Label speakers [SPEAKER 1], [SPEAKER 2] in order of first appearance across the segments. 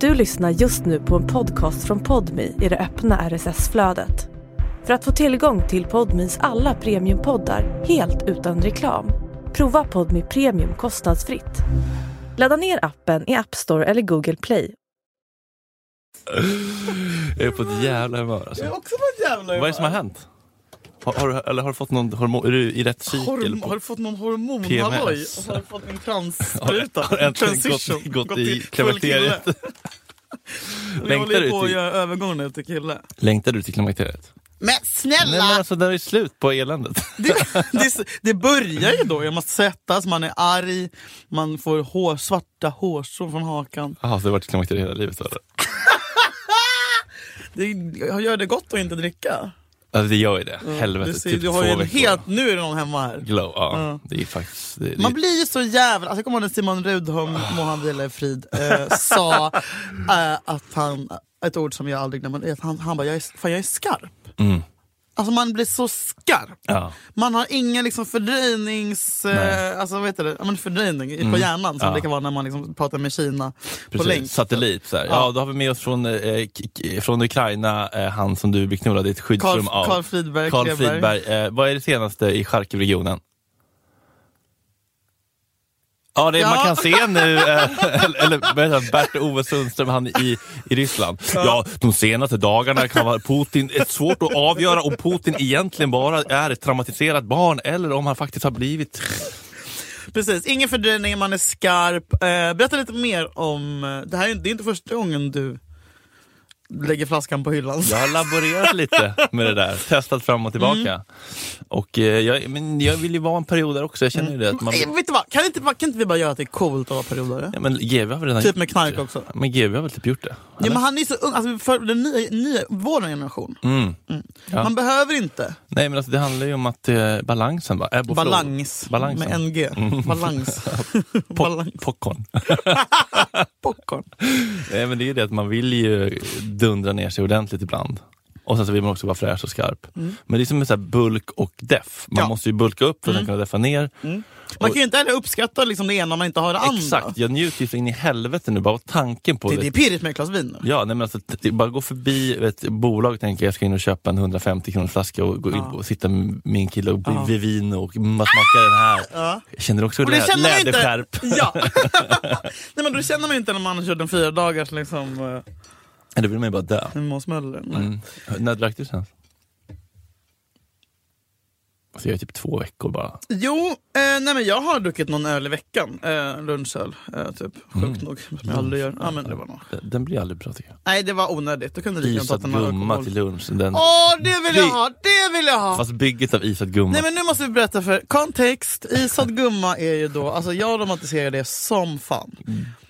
[SPEAKER 1] Du lyssnar just nu på en podcast från Podmi i det öppna RSS-flödet. För att få tillgång till Podmis alla premiumpoddar helt utan reklam, prova Podmi Premium kostnadsfritt. Ladda ner appen i App Store eller Google Play.
[SPEAKER 2] Jag är på ett jävla humör alltså.
[SPEAKER 3] Jag är också på ett jävla
[SPEAKER 2] Vad är det som har hänt? Har, har, du- eller har du fått någon hormon, är du i rätt cykel?
[SPEAKER 3] Horm-
[SPEAKER 2] på-
[SPEAKER 3] har du fått någon
[SPEAKER 2] PMS?
[SPEAKER 3] hormonhalloj? Och Har du fått en transspruta?
[SPEAKER 2] har äntligen
[SPEAKER 3] Transition?
[SPEAKER 2] gått, gått i
[SPEAKER 3] full
[SPEAKER 2] klimakteriet?
[SPEAKER 3] kille. Jag
[SPEAKER 2] Längtar
[SPEAKER 3] håller
[SPEAKER 2] du
[SPEAKER 3] ju på att
[SPEAKER 2] till-
[SPEAKER 3] göra övergång nu till kille.
[SPEAKER 2] Längtar du till klimakteriet?
[SPEAKER 3] Men
[SPEAKER 2] Nej
[SPEAKER 3] snälla!
[SPEAKER 2] men alltså det är slut på eländet.
[SPEAKER 3] det, det, det börjar ju då, man svettas, man är arg, man får hår, svarta hårstrån från hakan.
[SPEAKER 2] Jaha, så det har varit klimakteriet hela livet eller?
[SPEAKER 3] Det, jag gör det gott att inte dricka.
[SPEAKER 2] Alltså det gör ju det. Helvete,
[SPEAKER 3] Du, ser,
[SPEAKER 2] typ
[SPEAKER 3] du har
[SPEAKER 2] två
[SPEAKER 3] ju en
[SPEAKER 2] veckor.
[SPEAKER 3] helt, nu är det någon hemma här.
[SPEAKER 2] Glow, ja.
[SPEAKER 3] Ja.
[SPEAKER 2] Det är faktiskt... Det, det,
[SPEAKER 3] Man blir ju så jävla... Alltså, jag kommer ihåg när Simon Rudholm, må han vila i frid, eh, sa eh, att han, ett ord som jag aldrig glömmer, är att han, han bara jag är, fan, jag är skarp.
[SPEAKER 2] Mm.
[SPEAKER 3] Alltså man blir så skarp.
[SPEAKER 2] Ja.
[SPEAKER 3] Man har ingen liksom fördröjnings...
[SPEAKER 2] Nej. Mm.
[SPEAKER 3] Eh, alltså vad heter det? Ja, men fördröjning i- på hjärnan som
[SPEAKER 2] Ja.
[SPEAKER 3] det kan vara när man liksom pratar med Kina på länk.
[SPEAKER 2] Precis, satellit. Så här. Ja.
[SPEAKER 3] Ja.
[SPEAKER 2] då har vi med oss från, eh, k- k- från Ukraina, eh, han som du blev knullad i ett
[SPEAKER 3] Carl,
[SPEAKER 2] skyddsrum av.
[SPEAKER 3] Carl Fridberg,
[SPEAKER 2] Carl
[SPEAKER 3] Kleberg.
[SPEAKER 2] Fridberg. Eh, vad är det senaste i Charkivregionen? Ja, det
[SPEAKER 3] Ja.
[SPEAKER 2] man kan se nu, eh, eller, eller vad heter han? Bert-Ove Sundström, han i, i Ryssland. Ja, de senaste dagarna kan vara Putin, det är svårt att avgöra om Putin egentligen bara är ett traumatiserat barn eller om han faktiskt har blivit...
[SPEAKER 3] Precis, ingen fördröjning, man är skarp. Eh, berätta lite mer om... eh, Det här är, ju- det är inte första gången du lägger flaskan på hyllan.
[SPEAKER 2] Jag har laborerat lite med det där, testat fram och tillbaka.
[SPEAKER 3] Mm.
[SPEAKER 2] Och eh, jag, men jag vill ju vara en period där också, jag känner ju det. Att man,
[SPEAKER 3] Eh, Vet du vad? Kan inte, kan inte vi bara göra att det är coolt att vara periodare?
[SPEAKER 2] ja, men GW har väl redan
[SPEAKER 3] Typ med
[SPEAKER 2] gjort
[SPEAKER 3] knark
[SPEAKER 2] det.
[SPEAKER 3] också.
[SPEAKER 2] Men GW har väl typ gjort det?
[SPEAKER 3] Ja,
[SPEAKER 2] eller?
[SPEAKER 3] men han är så ung, alltså för den nya, nya, vår generation.
[SPEAKER 2] Mm. Ja.
[SPEAKER 3] Man behöver inte
[SPEAKER 2] Nej men alltså, det handlar ju om att eh, balansen bara, ebb och flod.
[SPEAKER 3] balans
[SPEAKER 2] Balansen. Mm.
[SPEAKER 3] med NG. Balans. balans.
[SPEAKER 2] Popcorn.
[SPEAKER 3] Popcorn.
[SPEAKER 2] Nej men det är ju det att man vill ju dundra ner sig ordentligt ibland. Och sen så vill man också vara fräsch och skarp. Men det är som en så här bulk och deff. Man
[SPEAKER 3] Mm. Ja. Mm.
[SPEAKER 2] måste ju bulka upp för att sen kunna deffa ner.
[SPEAKER 3] Man kan ju inte heller uppskatta liksom det ena om man inte har det andra.
[SPEAKER 2] Exakt, jag njuter ju så in i helvete nu bara av tanken på
[SPEAKER 3] Det, det är pirrigt med ett glas vin nu.
[SPEAKER 2] Ja, nej men alltså, t- bara gå förbi ett bolag och tänka jag ska in och köpa en 150 kronors flaska och, gå in och sitta med min kille och bli vid vin och ma- smaka den här. Jag känner också
[SPEAKER 3] Och det
[SPEAKER 2] lä-
[SPEAKER 3] känner man ju inte.
[SPEAKER 2] läderskärp.
[SPEAKER 3] Ja. Nej, men då känner man ju inte när man har kört en fyra dagars liksom, eh,
[SPEAKER 2] Eller vill man ju bara dö.
[SPEAKER 3] med Måns Möller. Nej.
[SPEAKER 2] Mm. När drack du senast? Alltså, jag är typ två veckor bara.
[SPEAKER 3] Jo, eh, nej men jag har druckit någon öl i veckan. Eh, lunchöl, eh, typ. Sjukt
[SPEAKER 2] Mm.
[SPEAKER 3] nog. Som jag aldrig gör. Ja, men det var nog.
[SPEAKER 2] Den- Den blir aldrig bra tycker jag.
[SPEAKER 3] Nej, det var onödigt. Då kunde du lika gärna
[SPEAKER 2] Isad
[SPEAKER 3] tagit en
[SPEAKER 2] gumma
[SPEAKER 3] alkohol.
[SPEAKER 2] till lunch. Den,
[SPEAKER 3] Åh, det vill jag ha! Det vill jag ha!
[SPEAKER 2] Fast bygget av isad gumma.
[SPEAKER 3] Nej men nu måste vi berätta för kontext. Isad gumma är ju då, alltså jag romantiserar det som fan.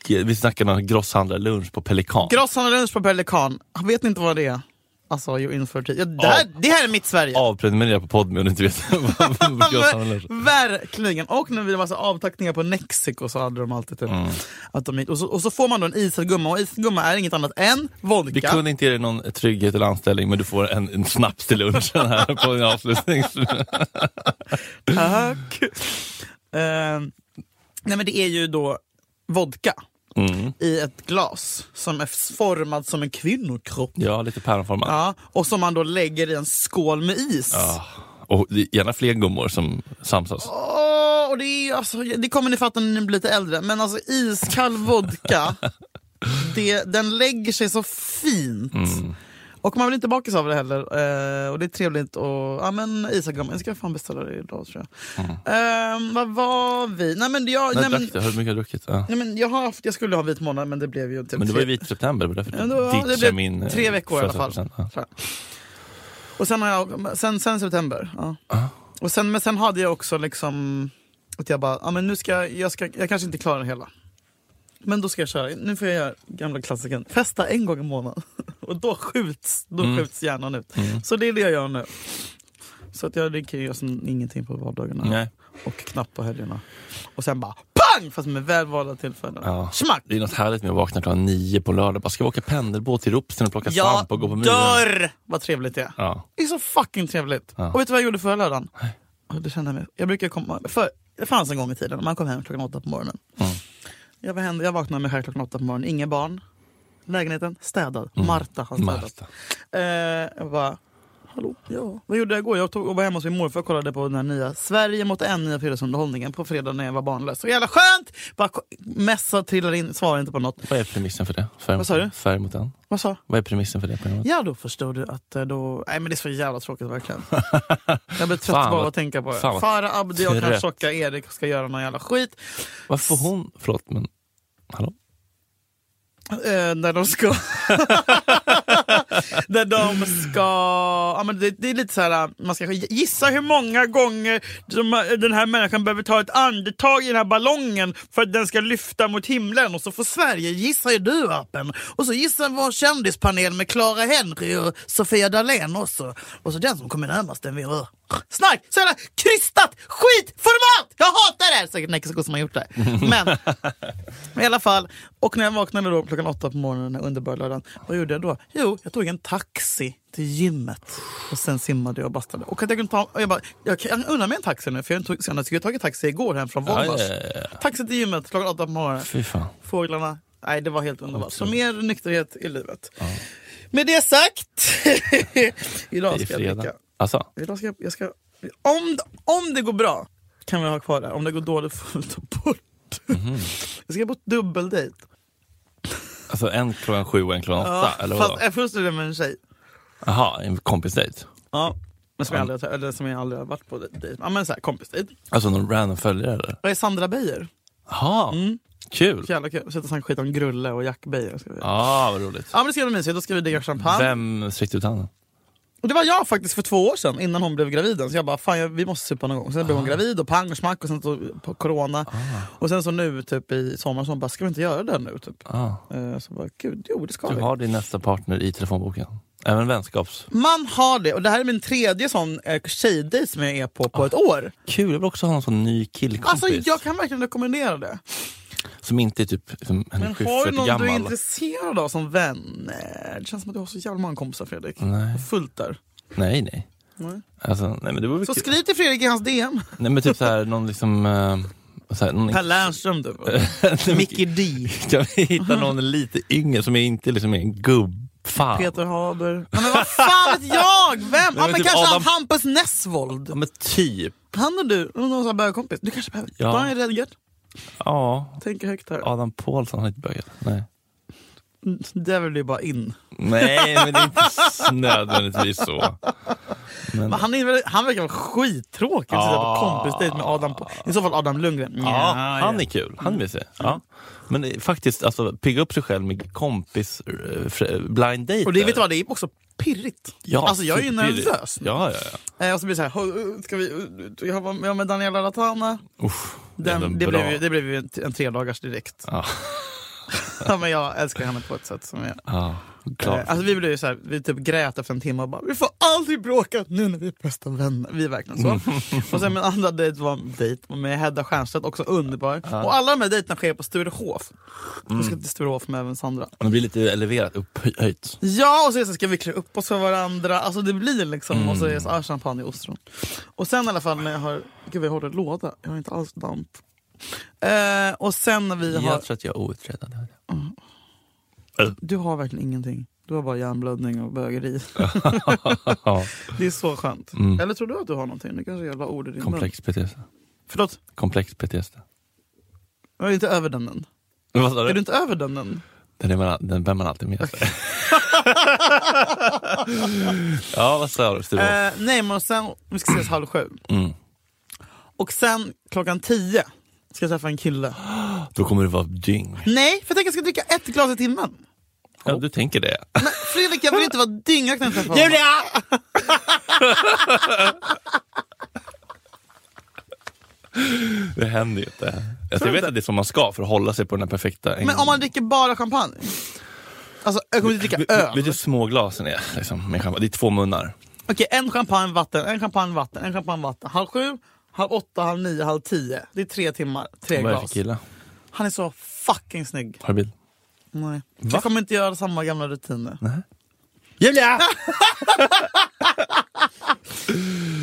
[SPEAKER 2] Vi snackade om en grosshandlarlunch på Pelikan.
[SPEAKER 3] Grosshandla lunch på Pelikan, vet ni inte vad det är? Alltså, ju inför tid. Ja, det, här, det här är mitt Sverige.
[SPEAKER 2] Avprenumerera på Podme om du inte vet vad vad grosshandlarlunch
[SPEAKER 3] Ver- Verkligen! Och när vi var så avtackningar på Nexiko så hade de alltid typ
[SPEAKER 2] Mm.
[SPEAKER 3] att de, och, så, och så får man då en isad gumma och isad gumma är inget annat än vodka.
[SPEAKER 2] Vi kunde inte ge dig någon trygghet eller anställning men du får en, en snaps till lunchen här på en avslutning.
[SPEAKER 3] Tack. Eh, nej men det är ju då vodka
[SPEAKER 2] Mm.
[SPEAKER 3] i ett glas som är formad som en kvinnokropp.
[SPEAKER 2] Ja, lite päronformat.
[SPEAKER 3] Ja, och som man då lägger i en skål med is.
[SPEAKER 2] Ja. Och det är gärna fler gummor som samsas.
[SPEAKER 3] Åh, och det, är, ju alltså, det kommer ni fatta när ni blir lite äldre, men alltså iskall vodka, det, den lägger sig så fint.
[SPEAKER 2] Mm.
[SPEAKER 3] Och man blir inte bakis av det heller. Eh, och det är trevligt. Och, ja, men Isagumma, jag ska fan beställa det idag tror
[SPEAKER 2] Mm.
[SPEAKER 3] jag. Eh, vad var vi? Nej men jag,
[SPEAKER 2] När
[SPEAKER 3] nej,
[SPEAKER 2] drack
[SPEAKER 3] men,
[SPEAKER 2] du? Hur mycket har du druckit? Ja.
[SPEAKER 3] nej, men jag, har haft, jag skulle ha vit månad men det blev ju typ
[SPEAKER 2] Men det var ju
[SPEAKER 3] tre-
[SPEAKER 2] vit september, det var därför
[SPEAKER 3] Ja, då- ja,
[SPEAKER 2] du
[SPEAKER 3] det
[SPEAKER 2] ditchade
[SPEAKER 3] blev
[SPEAKER 2] min eh,
[SPEAKER 3] tre veckor i alla fall.
[SPEAKER 2] födelsedagspresent. Ja.
[SPEAKER 3] Så här. Och sen har jag, sen, sen september. Ja.
[SPEAKER 2] Ah.
[SPEAKER 3] Och sen, men sen hade jag också liksom att jag bara, ja men nu ska jag, jag ska, jag kanske inte klarar det hela. Men då ska jag köra, nu får jag göra gamla klassiken. festa en gång i månaden. Och då skjuts, då
[SPEAKER 2] Mm.
[SPEAKER 3] skjuts hjärnan ut. Så det är det jag gör nu. Så att jag dricker ju alltså ingenting på vardagarna
[SPEAKER 2] Nej.
[SPEAKER 3] och knappt på helgerna. Och sen bara pang! Fast med välvalda tillfällen.
[SPEAKER 2] Ja.
[SPEAKER 3] Smack!
[SPEAKER 2] Det är något härligt med att vakna klockan nio på lördag bara, ska vi åka pendelbåt till Ropsten och plocka svamp och gå på
[SPEAKER 3] Jag
[SPEAKER 2] myren?
[SPEAKER 3] dör! Vad trevligt det är.
[SPEAKER 2] Ja.
[SPEAKER 3] Det är så fucking trevligt.
[SPEAKER 2] Ja.
[SPEAKER 3] Och vet du vad jag gjorde förra lördagen? Och Det kände jag, mig. jag brukar komma... För, det fanns en gång i tiden när man kom hem klockan åtta på morgonen. Jag, var hem, jag vaknade med här klockan åtta på morgonen, inga barn. lägenheten städad. Marta har städat.
[SPEAKER 2] Marta.
[SPEAKER 3] Eh, jag bara, hallå? Ja. Vad gjorde jag igår? Jag tog, jag var hemma hos min morfar och kollade på den här nya Sverige mot en nya fredagsunderhållningen på fredag när jag var barnlös. Så jävla skönt! Bara ko- messa trillar in, svarar inte på något.
[SPEAKER 2] Vad är premissen för det? Färg,
[SPEAKER 3] Vad sa du?
[SPEAKER 2] Färg mot den.
[SPEAKER 3] Vad sa
[SPEAKER 2] Vad är premissen för det programmet?
[SPEAKER 3] Ja, då förstod du att eh, då... Nej men det är så jävla tråkigt verkligen. Jag blir trött
[SPEAKER 2] Fan,
[SPEAKER 3] bara
[SPEAKER 2] vad-
[SPEAKER 3] av att tänka på det.
[SPEAKER 2] fan, vad
[SPEAKER 3] Farah Abdi och
[SPEAKER 2] trött.
[SPEAKER 3] den tjocka Erik ska göra någon jävla skit.
[SPEAKER 2] Varför får hon... Förlåt, men... Hallå?
[SPEAKER 3] Eh, när de ska... när de ska... Ja, men det, det är lite så här, eh, man ska gissa hur många gånger som eh, den här människan behöver ta ett andetag i den här ballongen för att den ska lyfta mot himlen. Och så får Sverige gissa i du-appen. Och så gissar vår kändispanel med Clara Henry och Sofia Dalén också. Och så den som kommer närmast den vinner. Snack! Så jävla krystat skitformat! Jag hatar det! här! Säkert Nike som har gjort det. Men men I alla fall, och när jag vaknade då klockan åtta på morgonen den underbara lördagen, vad gjorde jag då? Jo, jag tog en taxi till gymmet och sen simmade jag och bastade. Och att jag, kunde ta, och jag, bara, jag kan unna mig en taxi nu, för jag tog, senast skulle jag tagit taxi igår hem från Volvos.
[SPEAKER 2] Ja, ja, ja, ja.
[SPEAKER 3] Taxi till gymmet klockan åtta på morgonen.
[SPEAKER 2] Fy fan.
[SPEAKER 3] Fåglarna, nej det var helt underbart. Så mer nykterhet i livet. Med det sagt,
[SPEAKER 2] Det
[SPEAKER 3] idag
[SPEAKER 2] är
[SPEAKER 3] ska jag dricka.
[SPEAKER 2] fredag. Alltså,
[SPEAKER 3] Idag ska jag, jag ska, om, om det går bra kan vi ha kvar det här. Om det går dåligt får vi ta bort.
[SPEAKER 2] Mhm.
[SPEAKER 3] Jag ska på dubbeldejt.
[SPEAKER 2] alltså en klockan sju och en klockan åtta? eller vadå?
[SPEAKER 3] fast jag först är det med en tjej.
[SPEAKER 2] Jaha, en kompisdejt?
[SPEAKER 3] Ja. Men som, jag aldrig, har- eller som jag aldrig har varit på dejt. Ja men såhär kompisdejt.
[SPEAKER 2] Alltså någon random följare eller?
[SPEAKER 3] Jag är Sandra Beijer.
[SPEAKER 2] Jaha, kul!
[SPEAKER 3] Jävla Mm. kul. Sitter och snackar skit om Grulle och Jack Beijer. Ska vi. Ja.
[SPEAKER 2] Ja, vad roligt.
[SPEAKER 3] men det ska bli mysigt. Då ska vi dricka champagne.
[SPEAKER 2] Vem sträckte ut handen?
[SPEAKER 3] Och det var jag faktiskt för två år sedan innan hon blev graviden. Så jag bara, fan jag, vi måste supa någon gång. Sen
[SPEAKER 2] Ah.
[SPEAKER 3] blev hon gravid och pang och smack och sen så på corona. Och sen så nu typ i sommar så hon bara, ska vi inte göra det nu? Typ.
[SPEAKER 2] Ah,
[SPEAKER 3] Eh, Så bara, gud jo det ska
[SPEAKER 2] du
[SPEAKER 3] vi.
[SPEAKER 2] har din nästa partner i telefonboken. Även vänskaps...
[SPEAKER 3] Man har det. Och det här är min tredje sån eh, tjejdejt som jag är på
[SPEAKER 2] Ah,
[SPEAKER 3] på ett år.
[SPEAKER 2] Kul, jag vill också ha en sån ny killkompis.
[SPEAKER 3] Alltså jag kan verkligen rekommendera det.
[SPEAKER 2] Som inte är typ som en
[SPEAKER 3] Men har du
[SPEAKER 2] 70
[SPEAKER 3] någon du är
[SPEAKER 2] gammal.
[SPEAKER 3] intresserad av som vän? Eh, Det känns som att du har så jävla många kompisar Fredrik.
[SPEAKER 2] Nej.
[SPEAKER 3] Fullt där.
[SPEAKER 2] Nej, nej.
[SPEAKER 3] Nej.
[SPEAKER 2] Alltså, nej men det vore väl
[SPEAKER 3] Så
[SPEAKER 2] kul.
[SPEAKER 3] skriv till Fredrik i hans DM.
[SPEAKER 2] Nej men typ såhär, någon liksom... eh, så här, någon...
[SPEAKER 3] Per Lernström du.
[SPEAKER 2] men-
[SPEAKER 3] Mickey D.
[SPEAKER 2] Jag vill hitta någon lite yngre som inte liksom är en gubb. Fan.
[SPEAKER 3] Peter Haber. Ja, men vad fan vet jag? Vem? Ja,
[SPEAKER 2] men
[SPEAKER 3] men
[SPEAKER 2] typ
[SPEAKER 3] kanske
[SPEAKER 2] Adam-
[SPEAKER 3] han Hampus Nessvold.
[SPEAKER 2] Ja men typ.
[SPEAKER 3] Han och du, någon sån här bögkompis. Du kanske behöver.
[SPEAKER 2] Ja.
[SPEAKER 3] Daniel Redgert.
[SPEAKER 2] Ja,
[SPEAKER 3] Tänker högt här. Mm,
[SPEAKER 2] Adam Paulsson har inte bögat. Nej.
[SPEAKER 3] Det vill ju bara in.
[SPEAKER 2] Nej, men det är inte s- nödvändigtvis så. Men,
[SPEAKER 3] Men han, är, väl- han verkar vara skittråkig att sitta på
[SPEAKER 2] Ah.
[SPEAKER 3] kompisdejt med Adam. På, I så fall Adam Lundgren.
[SPEAKER 2] ja, han är kul.
[SPEAKER 3] Mm.
[SPEAKER 2] Han vill se. Ja. Men det är faktiskt, alltså, pigga upp sig själv med kompis eh, fr- blind date.
[SPEAKER 3] Och det, vet du vad, det är också pirrigt. alltså jag är ju
[SPEAKER 2] superpirrigt.
[SPEAKER 3] nervös. nu.
[SPEAKER 2] Ja, ja, ja.
[SPEAKER 3] Eh, och så blir det så här, "Hör, ska vi, uh, jag var jag var med Daniela Ratana.
[SPEAKER 2] Uff, ändå
[SPEAKER 3] Den, det,
[SPEAKER 2] bra.
[SPEAKER 3] blev ju, det blev ju en, en tredagars direkt.
[SPEAKER 2] Ja.
[SPEAKER 3] Ja, men jag älskar henne på ett sätt som jag...
[SPEAKER 2] Ja, klart.
[SPEAKER 3] Eh, Alltså vi blev ju så här, vi typ grät efter en timme och bara vi får aldrig bråka nu när vi är bästa vänner. Vi är verkligen så.
[SPEAKER 2] Mm.
[SPEAKER 3] och sen min andra dejt var en dejt med Hedda Stiernstedt, också underbar. Och alla de här dejterna sker på Sturehof. Vi
[SPEAKER 2] Mm.
[SPEAKER 3] ska till Sturehof med även Sandra.
[SPEAKER 2] Det blir lite eleverat, upphöjt.
[SPEAKER 3] Ja, och så, är det så ska vi klä upp oss för varandra. Alltså det blir liksom, och så är det
[SPEAKER 2] Mm.
[SPEAKER 3] så, ah, champagne och ostron. Och sen i alla fall när jag har, gud vad jag håller låda, jag har inte alls damp. Eh, och sen när vi har,
[SPEAKER 2] Jag tror att jag är outredad.
[SPEAKER 3] du har verkligen ingenting. Du har bara hjärnblödning och bögeri.
[SPEAKER 2] Ja,
[SPEAKER 3] Det är så skönt.
[SPEAKER 2] Mm.
[SPEAKER 3] Eller tror du att du har någonting? Det kanske är jävla ord i din mun.
[SPEAKER 2] komplex PTSD.
[SPEAKER 3] Förlåt,
[SPEAKER 2] Komplex PTSD.
[SPEAKER 3] jag är inte över den än.
[SPEAKER 2] Vad sa
[SPEAKER 3] Är du
[SPEAKER 2] du?
[SPEAKER 3] inte över den än?
[SPEAKER 2] Den, är man, den bär man alltid med sig. ja, vad sa du? Sture?
[SPEAKER 3] Eh, nej, men sen, vi ska ses halv sju.
[SPEAKER 2] Mm.
[SPEAKER 3] Och sen klockan tio ska jag träffa en kille.
[SPEAKER 2] Då kommer det vara dyng.
[SPEAKER 3] Nej, för jag tänker att jag ska dricka ett glas i timmen.
[SPEAKER 2] Ja, du tänker det.
[SPEAKER 3] Men Fredrik, jag vill inte vara dyngrak när jag träffar honom.
[SPEAKER 2] Julia! det händer ju inte. Alltså, jag vet att det är som man ska för att hålla sig på den här perfekta...
[SPEAKER 3] Men om man dricker bara champagne? Alltså, jag kommer inte dricka öl.
[SPEAKER 2] Vet du hur små glasen är? Liksom, med champagne? det är två munnar.
[SPEAKER 3] Okej, en champagne, vatten, en champagne, vatten, en champagne, vatten. Halv sju, halv åtta, halv nio, halv tio. Det är tre timmar, tre
[SPEAKER 2] Vad är det för
[SPEAKER 3] glas.
[SPEAKER 2] kille?
[SPEAKER 3] Han är så fucking snygg.
[SPEAKER 2] Har du bil?
[SPEAKER 3] Nej. Jag kommer inte göra samma gamla rutiner.
[SPEAKER 2] Mm. Julia!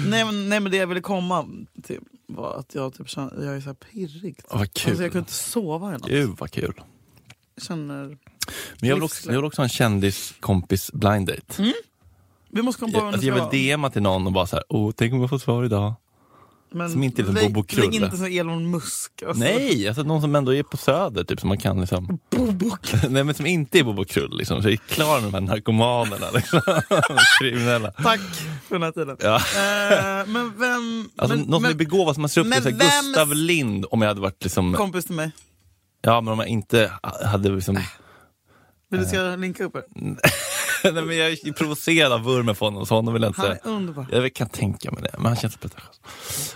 [SPEAKER 3] Nej men, nej men det jag ville komma till var att jag typ känner, jag är så här pirrig.
[SPEAKER 2] Åh, vad kul.
[SPEAKER 3] Alltså jag kunde inte sova i natt.
[SPEAKER 2] Gud vad kul.
[SPEAKER 3] Jag känner,
[SPEAKER 2] Men jag vill också, jag vill också ha en kändiskompis blind date.
[SPEAKER 3] Mm, Vi måste komma på
[SPEAKER 2] Jag,
[SPEAKER 3] vem det
[SPEAKER 2] alltså
[SPEAKER 3] ska
[SPEAKER 2] jag
[SPEAKER 3] vara.
[SPEAKER 2] vill DMa till någon och bara så här, oh, tänk om jag får svar idag.
[SPEAKER 3] Men
[SPEAKER 2] som inte är som
[SPEAKER 3] lägg-
[SPEAKER 2] Bobo Krull.
[SPEAKER 3] Lägg inte som Elon Musk. Alltså.
[SPEAKER 2] Nej, alltså någon som ändå är på Söder, typ, som man kan liksom...
[SPEAKER 3] Bobo Krull.
[SPEAKER 2] Nej, men som inte är Bobo Krull, liksom. Så jag är klar med de här narkomanerna, liksom. kriminella.
[SPEAKER 3] Tack för den här tiden.
[SPEAKER 2] Ja.
[SPEAKER 3] Eh, men vem...
[SPEAKER 2] Alltså
[SPEAKER 3] men,
[SPEAKER 2] någon som
[SPEAKER 3] men,
[SPEAKER 2] är begåvad, som man ser upp
[SPEAKER 3] men
[SPEAKER 2] till. så här,
[SPEAKER 3] vem-
[SPEAKER 2] Gustav Lind, om jag hade varit liksom...
[SPEAKER 3] kompis till mig.
[SPEAKER 2] Ja, men om jag inte hade liksom...
[SPEAKER 3] Äh. Vill du
[SPEAKER 2] Eh,
[SPEAKER 3] ska jag linka upp er?
[SPEAKER 2] Nej, men jag är provocerad av vurmen för honom, så honom vill jag
[SPEAKER 3] Han
[SPEAKER 2] inte...
[SPEAKER 3] är underbar.
[SPEAKER 2] Jag kan tänka mig det, men han känns pretentiös.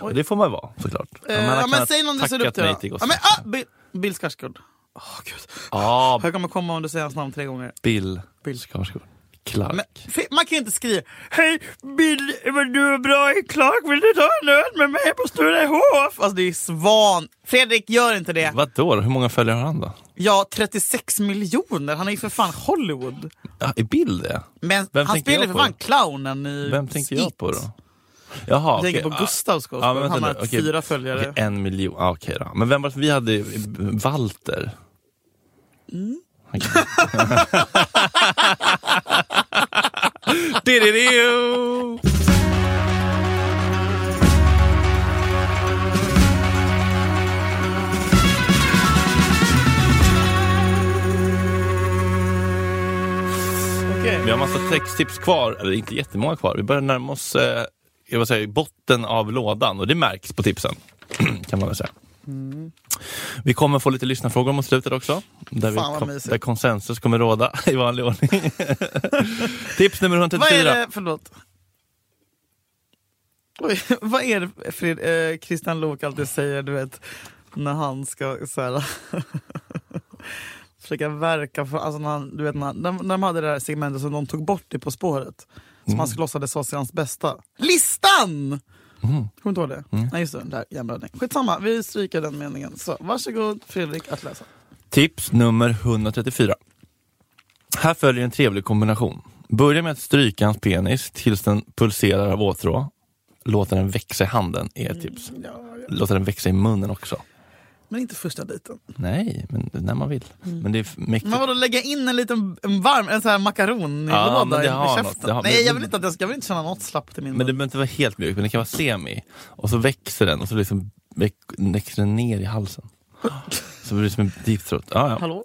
[SPEAKER 3] Oj.
[SPEAKER 2] Och det får man ju vara, såklart.
[SPEAKER 3] Eh,
[SPEAKER 2] han har
[SPEAKER 3] ja, men
[SPEAKER 2] kunnat
[SPEAKER 3] säg någon du ser
[SPEAKER 2] tackat
[SPEAKER 3] upp till.
[SPEAKER 2] nej
[SPEAKER 3] då.
[SPEAKER 2] till
[SPEAKER 3] ja,
[SPEAKER 2] Gustav.
[SPEAKER 3] men, ah, Bill, Bill Skarsgård. Åh, gud.
[SPEAKER 2] Ja,
[SPEAKER 3] Jag kommer komma om du säger hans namn tre gånger.
[SPEAKER 2] Bill
[SPEAKER 3] Bill.
[SPEAKER 2] Skarsgård. Clark.
[SPEAKER 3] Men, fe- man kan ju inte skriva Hej Bill, vad du är bra i Clark, vill du ta en öl med mig på Sturehof? Alltså det är svan. Fredrik, gör inte det.
[SPEAKER 2] Vadå? Hur många följare har han då?
[SPEAKER 3] Ja, 36 miljoner. Han är ju för fan Hollywood.
[SPEAKER 2] Ja, är Bill det?
[SPEAKER 3] Men
[SPEAKER 2] Vem
[SPEAKER 3] han
[SPEAKER 2] tänker jag
[SPEAKER 3] spelar ju för
[SPEAKER 2] på?
[SPEAKER 3] fan clownen i
[SPEAKER 2] Vem tänker
[SPEAKER 3] It.
[SPEAKER 2] jag på då? Jaha,
[SPEAKER 3] Jag tänker
[SPEAKER 2] okej. Ah,
[SPEAKER 3] på Gustav Skarsgård.
[SPEAKER 2] men vänta
[SPEAKER 3] han har
[SPEAKER 2] nu. Okej.
[SPEAKER 3] fyra följare.
[SPEAKER 2] Okej, en miljon, ah, okej då. Men vem var det som vi hade? Walter?
[SPEAKER 3] Mm.
[SPEAKER 2] Okej. Dididio!
[SPEAKER 3] Okej.
[SPEAKER 2] Vi har massa texttips kvar, eller inte jättemånga kvar. Vi börjar närma oss eh, jag vill säga, botten av lådan och det märks på tipsen. kan man väl säga.
[SPEAKER 3] Mm.
[SPEAKER 2] Vi kommer få lite lyssnarfrågor mot slutet också. Där, vi
[SPEAKER 3] Fan, vad
[SPEAKER 2] kom,
[SPEAKER 3] mysigt.
[SPEAKER 2] där konsensus kommer råda i vanlig ordning. Tips nummer
[SPEAKER 3] Vad är
[SPEAKER 2] 134.
[SPEAKER 3] det, förlåt. Oj, vad är det Fred, eh, Christian Lok alltid säger, du vet, när han ska så här, försöka verka för, alltså när han, du vet, när, de, de hade det där segmentet som de tog bort det På spåret, som han låtsades vara hans bästa. Listan!
[SPEAKER 2] Mm.
[SPEAKER 3] Kommer du inte ihåg det? Nej just det, den där jämnblödning. Skitsamma, vi stryker den meningen. Så varsågod Fredrik att läsa.
[SPEAKER 2] Tips nummer 134. Här följer en trevlig kombination. Börja med att stryka hans penis tills den pulserar av åtrå. Låta den växa i handen är ett tips.
[SPEAKER 3] Ja, ja.
[SPEAKER 2] Låta den växa i munnen också.
[SPEAKER 3] Men inte första dejten.
[SPEAKER 2] Nej, men det är när man vill. Men det är f- mäktigt.
[SPEAKER 3] Mm. Men vadå lägga in en liten en varm en sån här makaronlåda
[SPEAKER 2] Ja, men det har
[SPEAKER 3] i
[SPEAKER 2] något.
[SPEAKER 3] käften?
[SPEAKER 2] Det har-
[SPEAKER 3] Nej
[SPEAKER 2] men-
[SPEAKER 3] jag vill inte att jag ska, jag vill inte känna något slappt i min
[SPEAKER 2] Men det
[SPEAKER 3] mun.
[SPEAKER 2] behöver inte vara helt mjuk, men det kan vara semi. Och så växer den och så liksom väx- växer den ner i halsen. Så blir det som en deep throat. Ja, ja.
[SPEAKER 3] Hallå?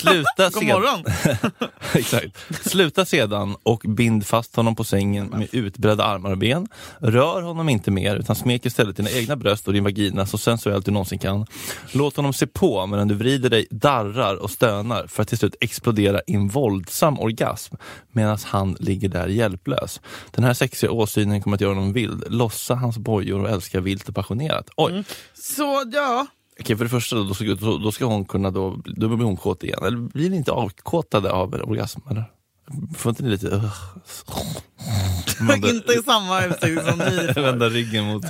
[SPEAKER 2] Sluta
[SPEAKER 3] God
[SPEAKER 2] sedan.
[SPEAKER 3] morgon!
[SPEAKER 2] Exakt. Sluta sedan och bind fast honom på sängen med utbredda armar och ben. Rör honom inte mer utan smek istället dina egna bröst och din vagina så sensuellt du någonsin kan. Låt honom se på medan du vrider dig, darrar och stönar för att till slut explodera i en våldsam orgasm medan han ligger där hjälplös. Den här sexiga åsynen kommer att göra honom vild. Lossa hans bojor och älska vilt och passionerat. Oj!
[SPEAKER 3] Så ja,
[SPEAKER 2] Okej, för det första då, då ska, då, då ska hon kunna då, då blir hon kåt igen. Eller blir ni inte avkåtade av orgasm? Eller? Får inte ni lite... Uh,
[SPEAKER 3] inte i samma utsträckning som ni
[SPEAKER 2] vända ryggen mot...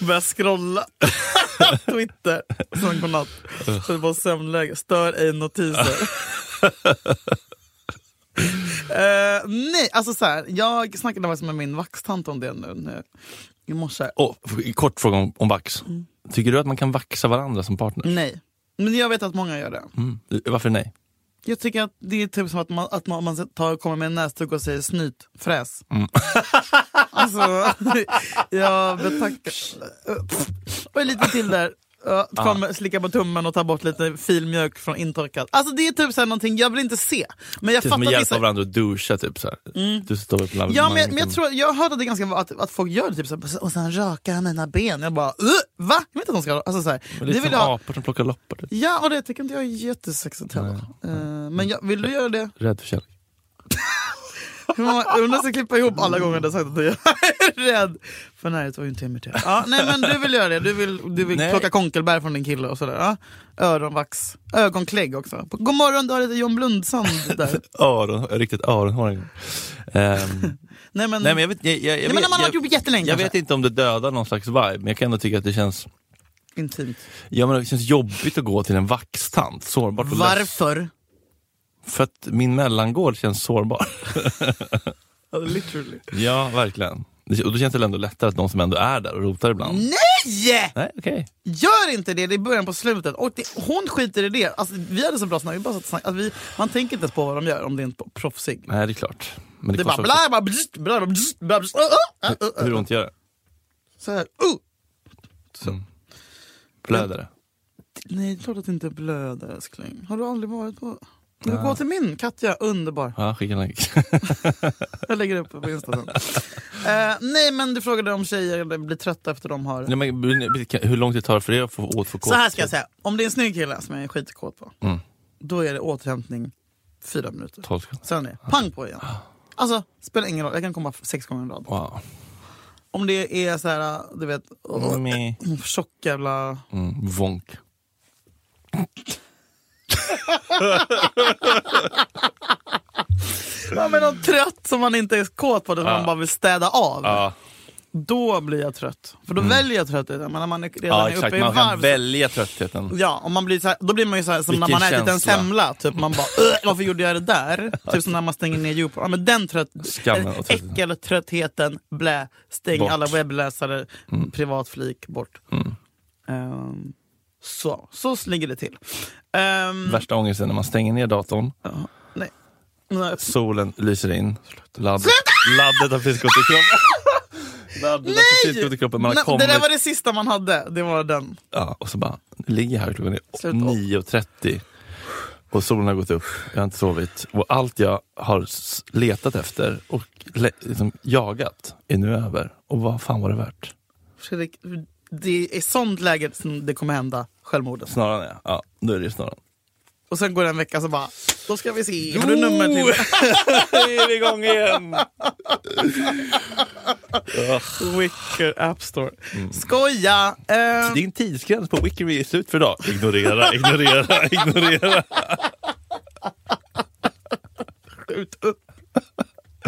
[SPEAKER 3] börjar scrolla Twitter som en godnatt. Sätter på sömnläge, stör ej notiser. Eh, nej, alltså så här, jag snackade faktiskt med min vaxtant om det nu, nu i morse.
[SPEAKER 2] Oh, kort fråga om, om vax.
[SPEAKER 3] Mm.
[SPEAKER 2] Tycker du att man kan vaxa varandra som partner?
[SPEAKER 3] Nej, men jag vet att många gör det.
[SPEAKER 2] Mm. Varför nej?
[SPEAKER 3] Jag tycker att det är typ som att man, att man, man tar, kommer med en näsduk och säger snyt, fräs.
[SPEAKER 2] Mm.
[SPEAKER 3] alltså, jag betackar... Och lite till där. Ja, Kommer, slicka på tummen och ta bort lite filmjölk från intorkat. Alltså det är typ så här någonting jag vill inte se. Men jag
[SPEAKER 2] Typ som att
[SPEAKER 3] fattar
[SPEAKER 2] hjälpa
[SPEAKER 3] vissa... Mm.
[SPEAKER 2] varandra att duscha, typ så här. Du står upp bland
[SPEAKER 3] Ja, men,
[SPEAKER 2] man
[SPEAKER 3] jag- men jag,
[SPEAKER 2] kan-
[SPEAKER 3] tror, jag hörde att det ganska att, att folk gör det typ så här, och sen raka jag mina ben. Jag bara uh, va? Jag vet inte att de ska alltså, så här.
[SPEAKER 2] Men Det är
[SPEAKER 3] vill
[SPEAKER 2] som
[SPEAKER 3] jag ha.
[SPEAKER 2] apor som plockar loppor. Typ.
[SPEAKER 3] Ja, och det tycker inte jag är jättesexigt heller. Eh, men jag, vill du göra det?
[SPEAKER 2] Rädd för kärlek.
[SPEAKER 3] Hur många- Jag undrar om jag ska klippa ihop alla gånger du har sagt att du är rädd. För närhet var ju inte imiterad. Ja, nej men du vill göra det. Du vill, du vill
[SPEAKER 2] Nej.
[SPEAKER 3] plocka konkelbär från din kille och sådär. Ja. Öronvax. Ögonklägg också. God morgon, du har lite John Blundsand där.
[SPEAKER 2] Öron, riktigt öronhåring. Ehm, nej
[SPEAKER 3] Nej men,
[SPEAKER 2] men jag vet, jag, jag, jag,
[SPEAKER 3] Mm. Nej, men när man har
[SPEAKER 2] jag,
[SPEAKER 3] varit ihop jättelänge alltså.
[SPEAKER 2] jag
[SPEAKER 3] kanske.
[SPEAKER 2] vet inte om det dödar någon slags vibe, men jag kan ändå tycka att det känns,
[SPEAKER 3] intimt.
[SPEAKER 2] ja, men det känns jobbigt att gå till en vaxtant. Sårbart och löst.
[SPEAKER 3] Varför?
[SPEAKER 2] För att min mellangård känns sårbar.
[SPEAKER 3] Literally.
[SPEAKER 2] ja, verkligen. Det- Och då känns det väl ändå lättare att någon som ändå är där och rotar ibland.
[SPEAKER 3] Mm. Nej!
[SPEAKER 2] Nej, okej.
[SPEAKER 3] Gör inte det, det är början på slutet. Och det, hon skiter i det. Alltså, vi hade så bra snack, vi bara satt och snackade. Alltså, vi, man tänker inte ens på vad de gör om det inte är proffsig.
[SPEAKER 2] Nej, det är klart. Men
[SPEAKER 3] Det är bara
[SPEAKER 2] kostar
[SPEAKER 3] bla
[SPEAKER 2] också-
[SPEAKER 3] bla bzzt, bla bla bzzt, bla bzzt, uh, uh, uh, uh, uh.
[SPEAKER 2] Hur ont gör det?
[SPEAKER 3] Så här, uh. Mm.
[SPEAKER 2] Blöder det?
[SPEAKER 3] Nej, det är klart att det inte blöder älskling. Har du aldrig varit på... Du går till min Katja, underbar.
[SPEAKER 2] Ja, skicka en länk.
[SPEAKER 3] Jag lägger upp på Insta sen. Eh, nej men du frågade om tjejer blir trötta efter de
[SPEAKER 2] Nej,
[SPEAKER 3] har...
[SPEAKER 2] men, hur lång tid tar det för er att få återfå
[SPEAKER 3] Så här ska jag säga, om det är en snygg kille som jag är skitkåt på. Då är det återhämtning fyra minuter.
[SPEAKER 2] 12 sekunder.
[SPEAKER 3] Sen är det pang på igen. Alltså, spelar ingen roll. Jag kan komma sex gånger i rad.
[SPEAKER 2] Wow.
[SPEAKER 3] Om det är så här, eh, du vet, oh,
[SPEAKER 2] Mm.
[SPEAKER 3] tjock jävla...
[SPEAKER 2] Mm, vonk.
[SPEAKER 3] Ja, men någon trött Ah. som man inte är kåt på, det som
[SPEAKER 2] Ja.
[SPEAKER 3] man bara vill städa av.
[SPEAKER 2] Ja,
[SPEAKER 3] Då blir jag trött. För då väljer jag tröttheten. Men när man är
[SPEAKER 2] Mm.
[SPEAKER 3] redan
[SPEAKER 2] ja
[SPEAKER 3] är uppe
[SPEAKER 2] exakt.
[SPEAKER 3] i
[SPEAKER 2] Man kan
[SPEAKER 3] varv... så- Mm.
[SPEAKER 2] välja tröttheten.
[SPEAKER 3] Ja, och man blir så här, då blir man ju så här, som när
[SPEAKER 2] Vilken
[SPEAKER 3] man har ätit en
[SPEAKER 2] känsla.
[SPEAKER 3] semla. Typ, man bara "Ugh, varför gjorde jag det där? typ som när man stänger ner Youporn. Ja, men den trött,
[SPEAKER 2] Skammen och tröttheten.
[SPEAKER 3] äckeltröttheten, blä, stäng
[SPEAKER 2] Bort. Mm.
[SPEAKER 3] alla webbläsare, privat flik, bort. Ehm, så, så ligger det till. Ehm,
[SPEAKER 2] Värsta ångesten när man stänger ner datorn,
[SPEAKER 3] nej. Nej,
[SPEAKER 2] solen lyser in, laddet, laddet har precis gått i kroppen. laddet har precis gått i kroppen, man har
[SPEAKER 3] Nej,
[SPEAKER 2] kommit,
[SPEAKER 3] Det där var det sista man hade, det var den.
[SPEAKER 2] ja, och så bara, nu ligger jag här klockan är
[SPEAKER 3] Sluta.
[SPEAKER 2] 9.30 och solen har gått upp, jag har inte sovit och allt jag har s- letat efter och le- liksom jagat är nu över. Och vad fan var det värt?
[SPEAKER 3] Fredrik, det är sånt läge som det kommer hända, självmordet.
[SPEAKER 2] Snaran ja, ja nu är det ju snaran.
[SPEAKER 3] Och sen går det en vecka så bara, då ska vi se, har du numret till
[SPEAKER 2] är vi igång igen!
[SPEAKER 3] Wicker App Store. Skoja! Eh,
[SPEAKER 2] Din tidsgräns på Wikery är slut för idag. Ignorera, ignorera, ignorera.
[SPEAKER 3] skjut upp.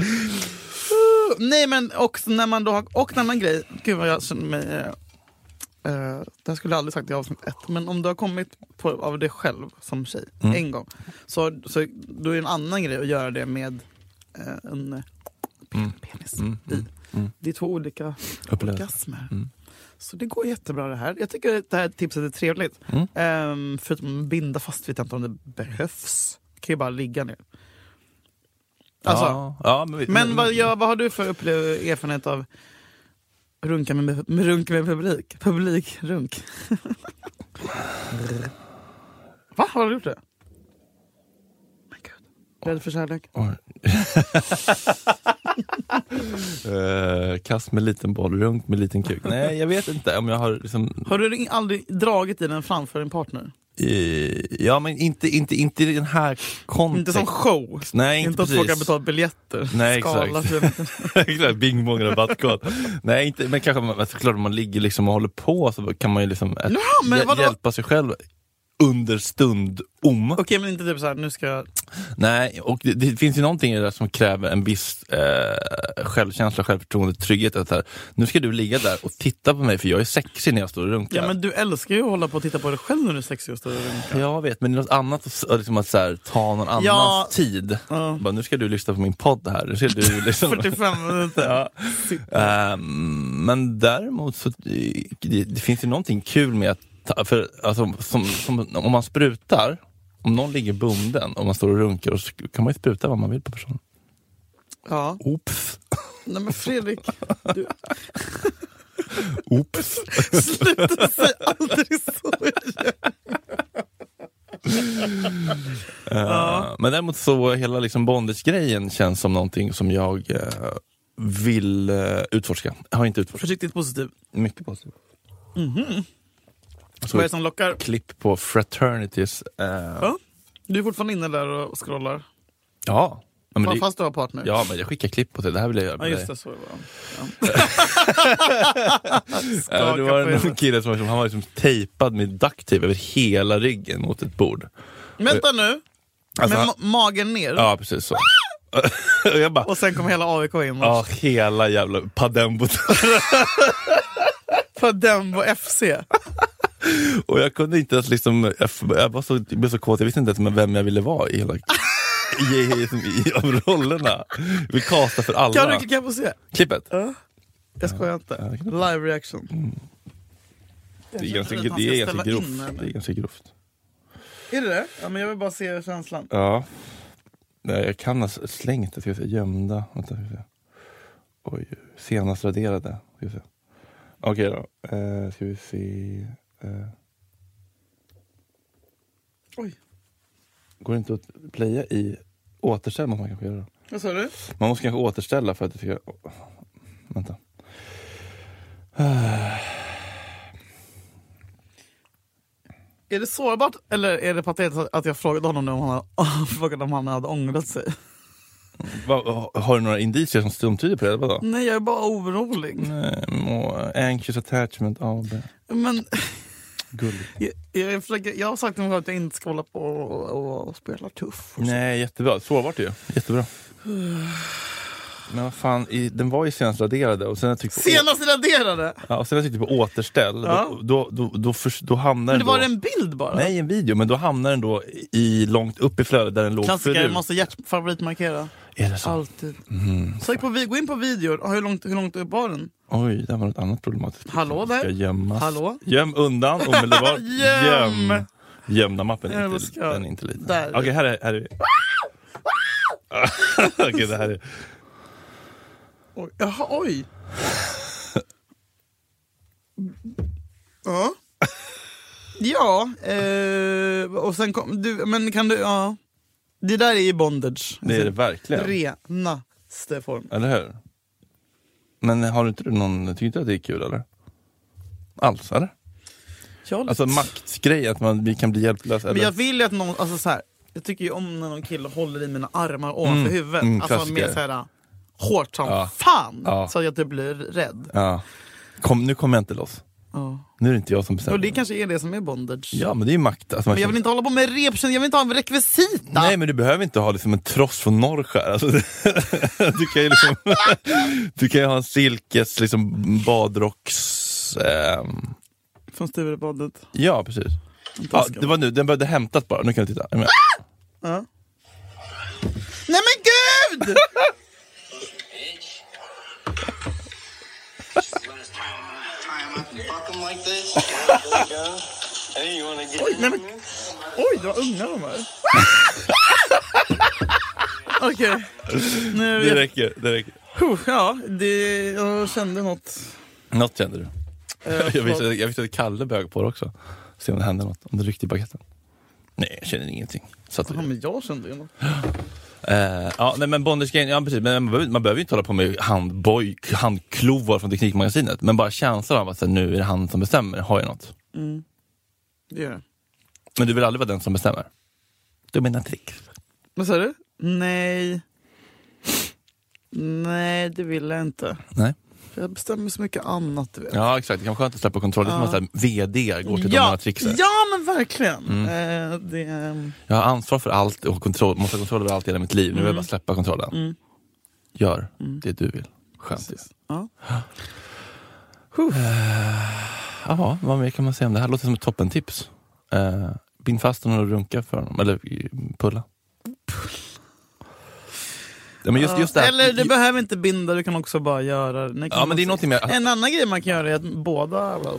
[SPEAKER 3] Uh, Nej men också när man då har, och en annan grej, gud vad jag känner mig, eh, eh, det här skulle jag aldrig sagt i avsnitt ett, men om du har kommit på, av dig själv som tjej en gång, så, så då är det en annan grej att göra det med eh, en eh, penis i. Det är två olika
[SPEAKER 2] Upplevelse.
[SPEAKER 3] orgasmer. Så det går jättebra det här. Jag tycker att det här tipset är trevligt. Ehm, förutom att binda fast vet jag inte om det behövs. Det kan ju bara ligga ner. Alltså,
[SPEAKER 2] ja, ja, men, vi-
[SPEAKER 3] Men vad, gör- vad har du för upple- erfarenhet av runka med, med, runk med publik? Publikrunk. Va? Har du gjort det? Men gud. Rädd för kärlek?
[SPEAKER 2] Eh, kast med liten boll, runk med liten kuk. Nej, jag vet inte om jag har liksom...
[SPEAKER 3] Har du ing- aldrig dragit i den framför din partner?
[SPEAKER 2] eh, ja, men inte, inte, inte i den här
[SPEAKER 3] Inte
[SPEAKER 2] kontexten.
[SPEAKER 3] som show?
[SPEAKER 2] Nej, inte
[SPEAKER 3] Inte att folk har
[SPEAKER 2] precis.
[SPEAKER 3] betalat biljetter.
[SPEAKER 2] Nej,
[SPEAKER 3] Skala
[SPEAKER 2] exakt.
[SPEAKER 3] för-
[SPEAKER 2] Exakt, Bing bong rabattkod. Nej, inte, men kanske man, såklart om man ligger liksom och håller på så kan man ju liksom ett,
[SPEAKER 3] Ja, men
[SPEAKER 2] hjä-
[SPEAKER 3] vadå?
[SPEAKER 2] hjälpa sig själv under stund om.
[SPEAKER 3] Okej, men inte typ såhär, nu ska jag...
[SPEAKER 2] Nej, och det, det finns ju någonting i det där som kräver en viss eh, självkänsla, självförtroende, trygghet. Att så här, nu ska du ligga där och titta på mig för jag är sexig när jag står och runkar.
[SPEAKER 3] Ja, men du älskar ju att hålla på och titta på dig själv när du är sexig och står och runkar.
[SPEAKER 2] Jag vet, men det är något annat att, s- liksom att så här, ta någon annans
[SPEAKER 3] Ja.
[SPEAKER 2] tid. Bara, nu ska du lyssna på min podd här. Nu ska du liksom...
[SPEAKER 3] 45 minuter.
[SPEAKER 2] Ja.
[SPEAKER 3] Sitt.
[SPEAKER 2] Ehm, men däremot så det, det finns ju någonting kul med att ta, för, alltså, som, som, om man sprutar, om någon ligger bunden och man står och runkar och så kan man ju spruta vad man vill på personen.
[SPEAKER 3] Ja.
[SPEAKER 2] Oops.
[SPEAKER 3] Nej men Fredrik, du
[SPEAKER 2] Oops.
[SPEAKER 3] sluta säga aldrig så.
[SPEAKER 2] Eh, Men däremot så hela liksom bondage-grejen känns som någonting som jag eh, vill eh, utforska. Jag har inte utforskat.
[SPEAKER 3] Försiktigt positiv.
[SPEAKER 2] Mycket positivt.
[SPEAKER 3] Mhm. Vad är det
[SPEAKER 2] Så
[SPEAKER 3] som lockar?
[SPEAKER 2] klipp på fraternities. eh,
[SPEAKER 3] Du är fortfarande inne där och scrollar.
[SPEAKER 2] ja, Ja, men det-
[SPEAKER 3] Fast du har partner.
[SPEAKER 2] Ja, men jag skickar klipp på det. Det här vill jag göra Eh,
[SPEAKER 3] Ja,
[SPEAKER 2] med
[SPEAKER 3] just
[SPEAKER 2] dig.
[SPEAKER 3] det, så var det.
[SPEAKER 2] Ja, det var
[SPEAKER 3] på
[SPEAKER 2] en
[SPEAKER 3] henne.
[SPEAKER 2] kille som var liksom, han var liksom tejpad med ducktape över hela ryggen mot ett bord.
[SPEAKER 3] Vänta nu,
[SPEAKER 2] Alltså,
[SPEAKER 3] med
[SPEAKER 2] han,
[SPEAKER 3] ma- magen ner
[SPEAKER 2] ja, precis så. Och jag bara,
[SPEAKER 3] och sen kom hela AIK in.
[SPEAKER 2] ja, hela jävla padembot.
[SPEAKER 3] För den var FC.
[SPEAKER 2] Alltså, Och jag kunde inte ens liksom, jag, f- jag var så, jag blev så kåt, jag visste inte ens med vem jag ville vara i hela... I, i, liksom, i, i, av rollerna. Vi castar för alla.
[SPEAKER 3] Kan du klicka på se?
[SPEAKER 2] Klippet?
[SPEAKER 3] Jag skojar inte. Live reaction.
[SPEAKER 2] Det är ganska,
[SPEAKER 3] Jag
[SPEAKER 2] det
[SPEAKER 3] tror
[SPEAKER 2] är ganska
[SPEAKER 3] att han ska ställa
[SPEAKER 2] grovt.
[SPEAKER 3] in henne.
[SPEAKER 2] Det är ganska grovt.
[SPEAKER 3] Är det det? Ja, men jag vill bara se känslan.
[SPEAKER 2] Ja. Nej, jag kan ha s- slängt det. Ska vi se. Gömda. Vänta, ska vi se. Oj. Senast raderade. Ska vi se. Okej då. Eh, ska vi se. Eh,
[SPEAKER 3] Oj,
[SPEAKER 2] går det inte att playa i återställ? Måste man kanske göra då.
[SPEAKER 3] vad sa du?
[SPEAKER 2] Man måste kanske återställa för att det ska... åh, Vänta.
[SPEAKER 3] Är det sårbart eller är det patetiskt att jag frågade honom nu om han, hade, frågade om han hade ångrat sig?
[SPEAKER 2] Va, har du några indicier som- som tyder på det? eller Vadå?
[SPEAKER 3] Nej, jag är bara orolig.
[SPEAKER 2] Nej, må- Anxious attachment AB.
[SPEAKER 3] Men
[SPEAKER 2] Gulligt.
[SPEAKER 3] jag, jag, försöker, jag har sagt till mig själv att jag inte ska hålla på och, och spela tuff. Och så.
[SPEAKER 2] Nej, jättebra. Sårbart ju. Jättebra. Men vad fan, i, den var ju senast raderade och sen jag tryckte på,
[SPEAKER 3] Senast raderade!
[SPEAKER 2] ja, och sen jag tryckte på återställ,
[SPEAKER 3] Ja.
[SPEAKER 2] då, då, då, då, förs- då hamnar den
[SPEAKER 3] Men det
[SPEAKER 2] då,
[SPEAKER 3] var en bild bara.
[SPEAKER 2] Nej, en video, men då hamnar den då i, långt upp i flödet där den låg
[SPEAKER 3] Klassiker,
[SPEAKER 2] förut.
[SPEAKER 3] måste hjärt- favoritmarkera.
[SPEAKER 2] Är det så?
[SPEAKER 3] Alltid. Sök på, vi- gå in på videor. Ah, Hur långt, hur långt upp var den?
[SPEAKER 2] Oj, där var något annat problematiskt.
[SPEAKER 3] Hallå där.
[SPEAKER 2] Ska gömmas.
[SPEAKER 3] Hallå?
[SPEAKER 2] Göm undan omedelbart.
[SPEAKER 3] Göm.
[SPEAKER 2] Göm! Gömda mappen är
[SPEAKER 3] Älskar.
[SPEAKER 2] inte, den är inte liten.
[SPEAKER 3] Där.
[SPEAKER 2] Okej, här är, här är vi. Okej, det här är...
[SPEAKER 3] Oj. Jaha, oj! Ja. Ja, eh, och sen kom du, men kan du, ja. Det där är ju bondage. Alltså,
[SPEAKER 2] Det är det verkligen.
[SPEAKER 3] Renaste form.
[SPEAKER 2] Eller hur? Men har du inte du någon, tycker inte att det är kul eller? Alls eller?
[SPEAKER 3] Jag,
[SPEAKER 2] Alltså maktgrej, att man, vi kan bli hjälplösa.
[SPEAKER 3] men
[SPEAKER 2] Eller?
[SPEAKER 3] jag vill ju att någon, alltså så här, jag tycker ju om när någon kille håller i mina armar ovanför
[SPEAKER 2] Mm,
[SPEAKER 3] huvudet.
[SPEAKER 2] mm,
[SPEAKER 3] alltså
[SPEAKER 2] klassiker.
[SPEAKER 3] mer såhär hårt som
[SPEAKER 2] Ja.
[SPEAKER 3] fan.
[SPEAKER 2] Ja.
[SPEAKER 3] Så att jag typ blir rädd.
[SPEAKER 2] Ja. Kom, nu kommer jag inte loss.
[SPEAKER 3] Ja.
[SPEAKER 2] Nu är det inte jag som bestämmer.
[SPEAKER 3] Och det kanske är det som är bondage.
[SPEAKER 2] Ja men det är ju makt. Alltså, man
[SPEAKER 3] Men jag vill
[SPEAKER 2] känner-
[SPEAKER 3] inte hålla på med repkänsla, jag vill inte ha en rekvisita.
[SPEAKER 2] Nej men du behöver inte ha liksom en tross från Norrskär. Alltså, du kan ju liksom, du kan ju ha en silkes liksom, badrocks... ehm,
[SPEAKER 3] Från Sturebadet.
[SPEAKER 2] ja precis. Ja, det var nu, den behövde hämtas bara. Nu kan du titta.
[SPEAKER 3] Ah!
[SPEAKER 2] Jag menar-
[SPEAKER 3] Ja. Nej men gud!
[SPEAKER 4] bitch. Let us tie him up, tie him up and fuck him like this. There you go. Hey, you wanna get in
[SPEAKER 3] nej, men-
[SPEAKER 4] there?
[SPEAKER 3] Oj, det var unga de här. Okej. Nu...
[SPEAKER 2] Det räcker, det räcker.
[SPEAKER 3] Huh, Ja, det, jag kände något.
[SPEAKER 2] Något kände du? Jag visste,
[SPEAKER 3] förlåt.
[SPEAKER 2] jag visste att Kalle bög på det också. Se om det hände något, om det ryckte i baguetten. Nej, jag känner ingenting. Så att,
[SPEAKER 3] Ja, men jag kände ju något.
[SPEAKER 2] eh, ja, nej, men bondage-grejen, ja, precis. Men man, behöver, man behöver ju inte hålla på med handboj, handklovar från Teknikmagasinet. Men bara känslan av att så här, nu är det han som bestämmer, har jag något.
[SPEAKER 3] Det gör jag.
[SPEAKER 2] Men du vill aldrig vara den som bestämmer? Du menar trick.
[SPEAKER 3] Vad sa du? Nej. Nej, det vill jag inte.
[SPEAKER 2] Nej.
[SPEAKER 3] För Jag bestämmer så mycket annat du vet.
[SPEAKER 2] Ja, exakt. Det kan vara skönt att släppa kontrollen. Det är som att så här, VD går till de här Mm. tricksen.
[SPEAKER 3] ja men verkligen. Eh, det, ehm,
[SPEAKER 2] Jag har ansvar för allt och kontroll, måste ha kontroll över allt i hela mitt liv.
[SPEAKER 3] Mm.
[SPEAKER 2] Nu vill jag bara släppa kontrollen. Gör det du vill. Skönt ju.
[SPEAKER 3] ja.
[SPEAKER 2] Jaha, vad mer kan man säga om det här? Låter som ett toppentips. Uh, bind fast honom och runka för honom, eller eh, pulla. Ja, men just, just det här.
[SPEAKER 3] Eller du behöver inte binda, du kan också bara göra det.
[SPEAKER 2] Ja, men det är någonting med att-
[SPEAKER 3] En annan grej man kan göra är att båda håller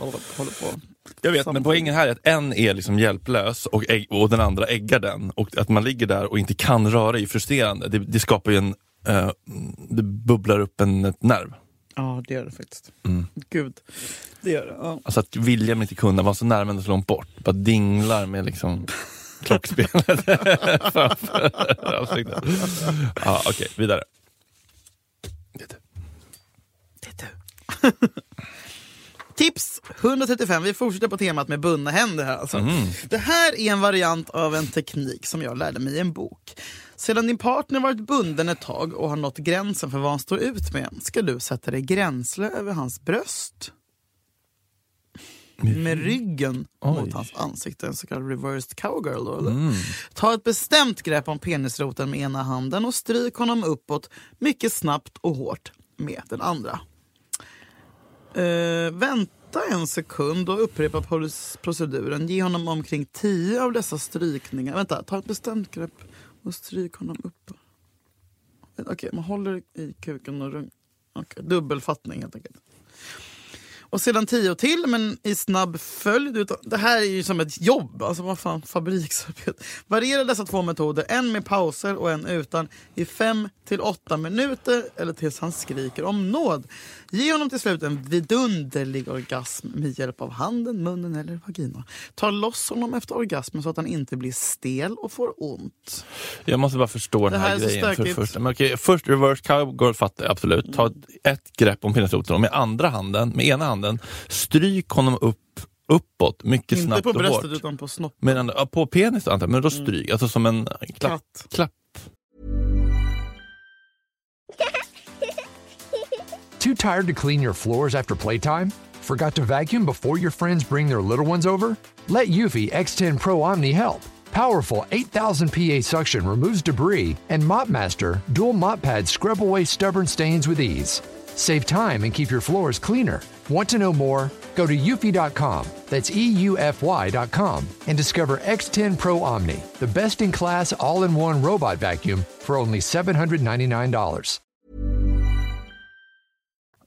[SPEAKER 3] på.
[SPEAKER 2] Jag vet, men poängen här är att en är liksom hjälplös och, ägg, och den andra äggar den. Och att man ligger där och inte kan röra är ju frustrerande. Det, det skapar ju en... eh, det bubblar upp en ett nerv.
[SPEAKER 3] Ja, det gör det faktiskt. Gud, det gör det. Ja.
[SPEAKER 2] Alltså att vilja men inte kunna vara så nära men så långt bort. Bara dinglar med liksom klockspelet framför ansiktet. Ja, Okej, vidare. Det är du.
[SPEAKER 3] Tips 135. Vi fortsätter på temat med bundna händer här alltså. Det här är en variant av en teknik som jag lärde mig i en bok. Sedan din partner varit bunden ett tag och har nått gränsen för vad han står ut med ska du sätta dig gränsle över hans bröst. Med ryggen mot hans ansikte, en så kallad reversed cowgirl. Då, eller? Ta ett bestämt grepp om penisroten med ena handen och stryk honom uppåt mycket snabbt och hårt med den andra. Eh, vänta en sekund och upprepa polis- proceduren. Ge honom omkring tio av dessa strykningar. Vänta, ta ett bestämt grepp och stryk honom upp. Okej, man håller i kuken och rung... Okej, dubbelfattning helt enkelt. Och sedan tio till, men i snabb följd. Utan, det här är ju som ett jobb, alltså vad fan, fabriksarbete. Variera dessa två metoder, en med pauser och en utan, i fem till åtta minuter eller tills han skriker om nåd. Ge honom till slut en vidunderlig orgasm med hjälp av handen, munnen eller vagina. Ta loss honom efter orgasmen så att han inte blir stel och får ont.
[SPEAKER 2] Jag måste bara förstå den
[SPEAKER 3] Det
[SPEAKER 2] här,
[SPEAKER 3] här är så
[SPEAKER 2] grejen. För
[SPEAKER 3] stökigt. Mm.
[SPEAKER 2] först. Men okej, först reverse cowgirl fattar jag absolut. Ta ett, ett grepp om penisroten och med andra handen, med ena handen, stryk honom upp, uppåt mycket
[SPEAKER 3] Inte
[SPEAKER 2] snabbt
[SPEAKER 3] på
[SPEAKER 2] och
[SPEAKER 3] bröstet
[SPEAKER 2] hårt.
[SPEAKER 3] utan Mm. på snopp.
[SPEAKER 2] Men ändå- ja, på penis antar jag, men då stryk, alltså som en klapp.
[SPEAKER 3] Katt.
[SPEAKER 2] klapp.
[SPEAKER 5] Too tired to clean your floors after playtime? Forgot to vacuum before your friends bring their little ones over? Let Eufy X10 Pro Omni help. Powerful 8000 PA suction removes debris, and MopMaster dual mop pads scrub away stubborn stains with ease. Save time and keep your floors cleaner. Want to know more? Go to eufy.com, that's E E-U-F-Y.com, and discover X10 Pro Omni, the best-in-class all-in-one robot vacuum for only $799.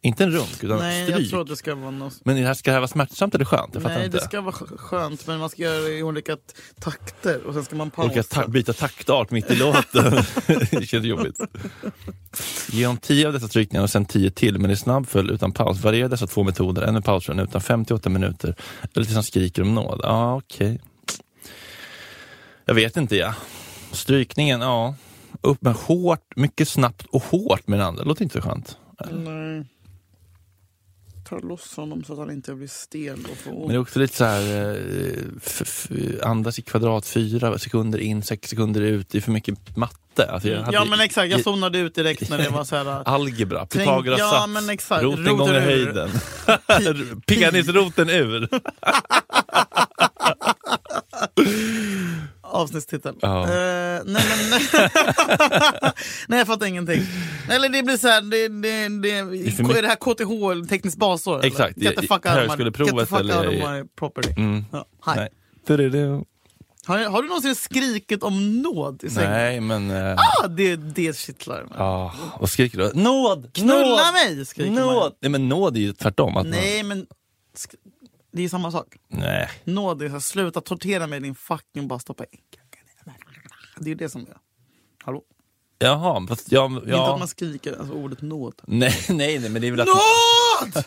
[SPEAKER 2] Inte en runk, utan
[SPEAKER 3] Nej, jag
[SPEAKER 2] stryk.
[SPEAKER 3] tror att det ska vara något
[SPEAKER 2] Men det här ska det här vara smärtsamt eller skönt? Jag fattar
[SPEAKER 3] Nej,
[SPEAKER 2] inte.
[SPEAKER 3] det ska vara sk- skönt, men man ska göra det i olika t- takter och sen ska man pausa.
[SPEAKER 2] Olika ta- byta taktart mitt i låten. det känns jobbigt. Ge om tio av dessa tryckningar och sen tio till, men i snabb följd utan paus. Variera dessa två metoder, en med paus och en utan, 58 minuter. Eller tills han skriker om nåd. Ja, okej. Jag vet inte, ja. Strykningen, ja. Upp med hårt, mycket snabbt och hårt med den andra. Låter inte så skönt.
[SPEAKER 3] Nej. eh, Ta loss honom så att han inte blir stel och får
[SPEAKER 2] Men det är också lite så här, eh, f- f- andas i kvadrat, fyra sekunder in, sex sekunder ut. Det är för mycket matte. Alltså, jag hade-
[SPEAKER 3] Mm.
[SPEAKER 2] Ah.
[SPEAKER 3] Ja men exakt, jag zonade ut direkt när det var så här. eh,
[SPEAKER 2] Algebra,
[SPEAKER 3] Tänk-
[SPEAKER 2] Pythagoras
[SPEAKER 3] ja,
[SPEAKER 2] sats,
[SPEAKER 3] men exakt.
[SPEAKER 2] roten
[SPEAKER 3] Roten
[SPEAKER 2] gånger
[SPEAKER 3] ur.
[SPEAKER 2] höjden. Piganisroten ur.
[SPEAKER 3] avsnittstitel.
[SPEAKER 2] Ja.
[SPEAKER 3] Eh, nej, men, nej. nej jag fattar ingenting. Eller det blir så här, det, det, det,
[SPEAKER 2] är för mycket-
[SPEAKER 3] är det här KTH eller tekniskt basår? eller?
[SPEAKER 2] Exakt,
[SPEAKER 3] Get the
[SPEAKER 2] i-
[SPEAKER 3] fuck out of my-
[SPEAKER 2] högskoleprovet
[SPEAKER 3] get the fuck out
[SPEAKER 2] eller- Mm.
[SPEAKER 3] of my property. Ja, hi.
[SPEAKER 2] Nej. Tududu.
[SPEAKER 3] Har, har du någonsin skrikit om nåd i sängen?
[SPEAKER 2] Nej, men... eh,
[SPEAKER 3] Ja, det, det kittlar mig.
[SPEAKER 2] ah, vad skriker du? Nåd!
[SPEAKER 3] Knulla
[SPEAKER 2] nåd,
[SPEAKER 3] mig! skriker man.
[SPEAKER 2] Nåd! Nej, men nåd är ju tvärtom. Att
[SPEAKER 3] Nej, men sk- det är samma sak.
[SPEAKER 2] Man, nej.
[SPEAKER 3] Nåd är så här, sluta tortera mig din fucking bara stoppa in. Det är ju det som är. Hallå?
[SPEAKER 2] Jaha, fast jag...
[SPEAKER 3] Inte att
[SPEAKER 2] Ja.
[SPEAKER 3] man skriker alltså, ordet nåd.
[SPEAKER 2] Nej, nej, nej, men det är väl att...
[SPEAKER 3] Nåd!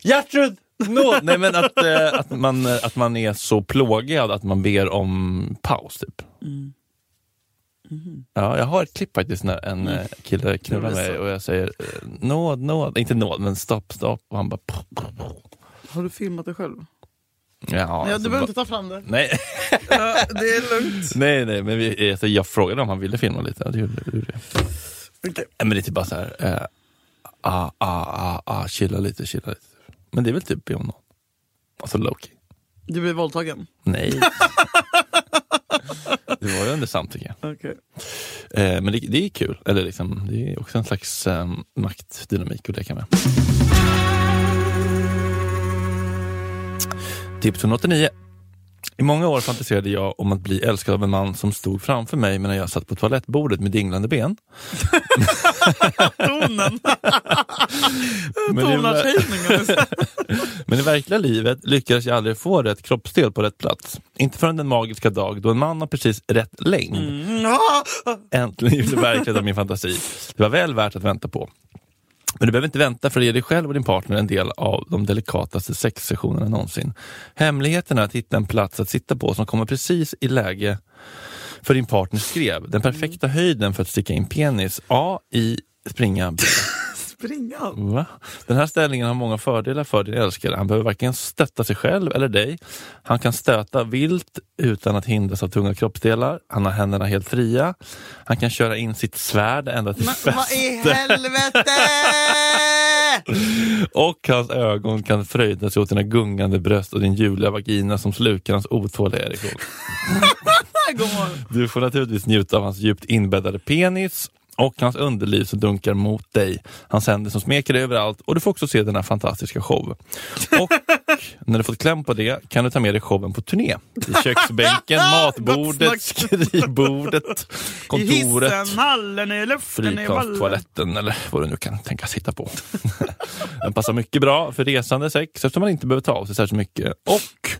[SPEAKER 2] Gertrud! Nåd! Nej, men att, eh, att, man, eh, att man är så plågad att man ber om paus, typ.
[SPEAKER 3] Mm.
[SPEAKER 2] Ja, jag har ett klipp faktiskt när en eh, kille knullar
[SPEAKER 3] Det var
[SPEAKER 2] mig
[SPEAKER 3] Mm-hmm. så.
[SPEAKER 2] och jag säger eh, nåd, nåd, inte nåd, men stopp, stopp. Och han bara... pop, pop, pop.
[SPEAKER 3] Har du filmat dig själv?
[SPEAKER 2] Ja,
[SPEAKER 3] Ja,
[SPEAKER 2] alltså,
[SPEAKER 3] du behöver
[SPEAKER 2] ba-
[SPEAKER 3] inte ta fram det.
[SPEAKER 2] Nej,
[SPEAKER 3] Ja, det är lugnt.
[SPEAKER 2] nej, nej, men vi, alltså, jag frågade om han ville filma lite. Ja, Det gjorde, det gjorde. jag.
[SPEAKER 3] Okej.
[SPEAKER 2] Nej, Men det är typ bara så här, eh, ah, ah, ah, ah, chilla lite, chilla lite. Men det är väl typ be om nåd. Alltså Loki.
[SPEAKER 3] Du blir våldtagen?
[SPEAKER 2] Nej. det var ju under samtycke.
[SPEAKER 3] Okej.
[SPEAKER 2] Eh, men det, det är kul. Eller liksom, det är också en slags eh, maktdynamik att leka med. Tips 189. I många år fantiserade jag om att bli älskad av en man som stod framför mig medan jag satt på toalettbordet med dinglande ben.
[SPEAKER 3] Tonen!
[SPEAKER 2] Men i-
[SPEAKER 3] Tonartshöjningen.
[SPEAKER 2] Men i verkliga livet lyckades jag aldrig få rätt kroppsdel på rätt plats. Inte förrän den magiska dag då en man av precis rätt längd
[SPEAKER 3] Ja,
[SPEAKER 2] äntligen gjorde verklighet av min fantasi. Det var väl värt att vänta på. Men du behöver inte vänta för att ge dig själv och din partner en del av de delikataste sexsessionerna någonsin. Hemligheten är att hitta en plats att sitta på som kommer precis i läge för din partner skrev. Den perfekta höjden för att sticka in penis. A, I, springa, B.
[SPEAKER 3] springa.
[SPEAKER 2] Va? Den här ställningen har många fördelar för din älskare. Han behöver varken stötta sig själv eller dig. Han kan stöta vilt utan att hindras av tunga kroppsdelar. Han har händerna helt fria. Han kan köra in sitt svärd ända till
[SPEAKER 3] Men vad
[SPEAKER 2] fästet.
[SPEAKER 3] i helvete!
[SPEAKER 2] Och hans ögon kan fröjda sig åt dina gungande bröst och din ljuvliga vagina som slukar hans otåliga erektion.
[SPEAKER 3] God morgon.
[SPEAKER 2] Du får naturligtvis njuta av hans djupt inbäddade penis och hans underliv som dunkar mot dig. Hans händer som smeker dig överallt och du får också se denna fantastiska show. Och när du fått kläm på det kan du ta med dig showen på turné. I köksbänken, matbordet,
[SPEAKER 3] Gott snack.
[SPEAKER 2] skrivbordet,
[SPEAKER 3] I
[SPEAKER 2] kontoret,
[SPEAKER 3] hissen, hallen, i luften, i vallen.
[SPEAKER 2] flygplanstoaletten eller vad du nu kan tänkas hitta på. Den passar mycket bra för resande sex eftersom man inte behöver ta av sig särskilt mycket. Och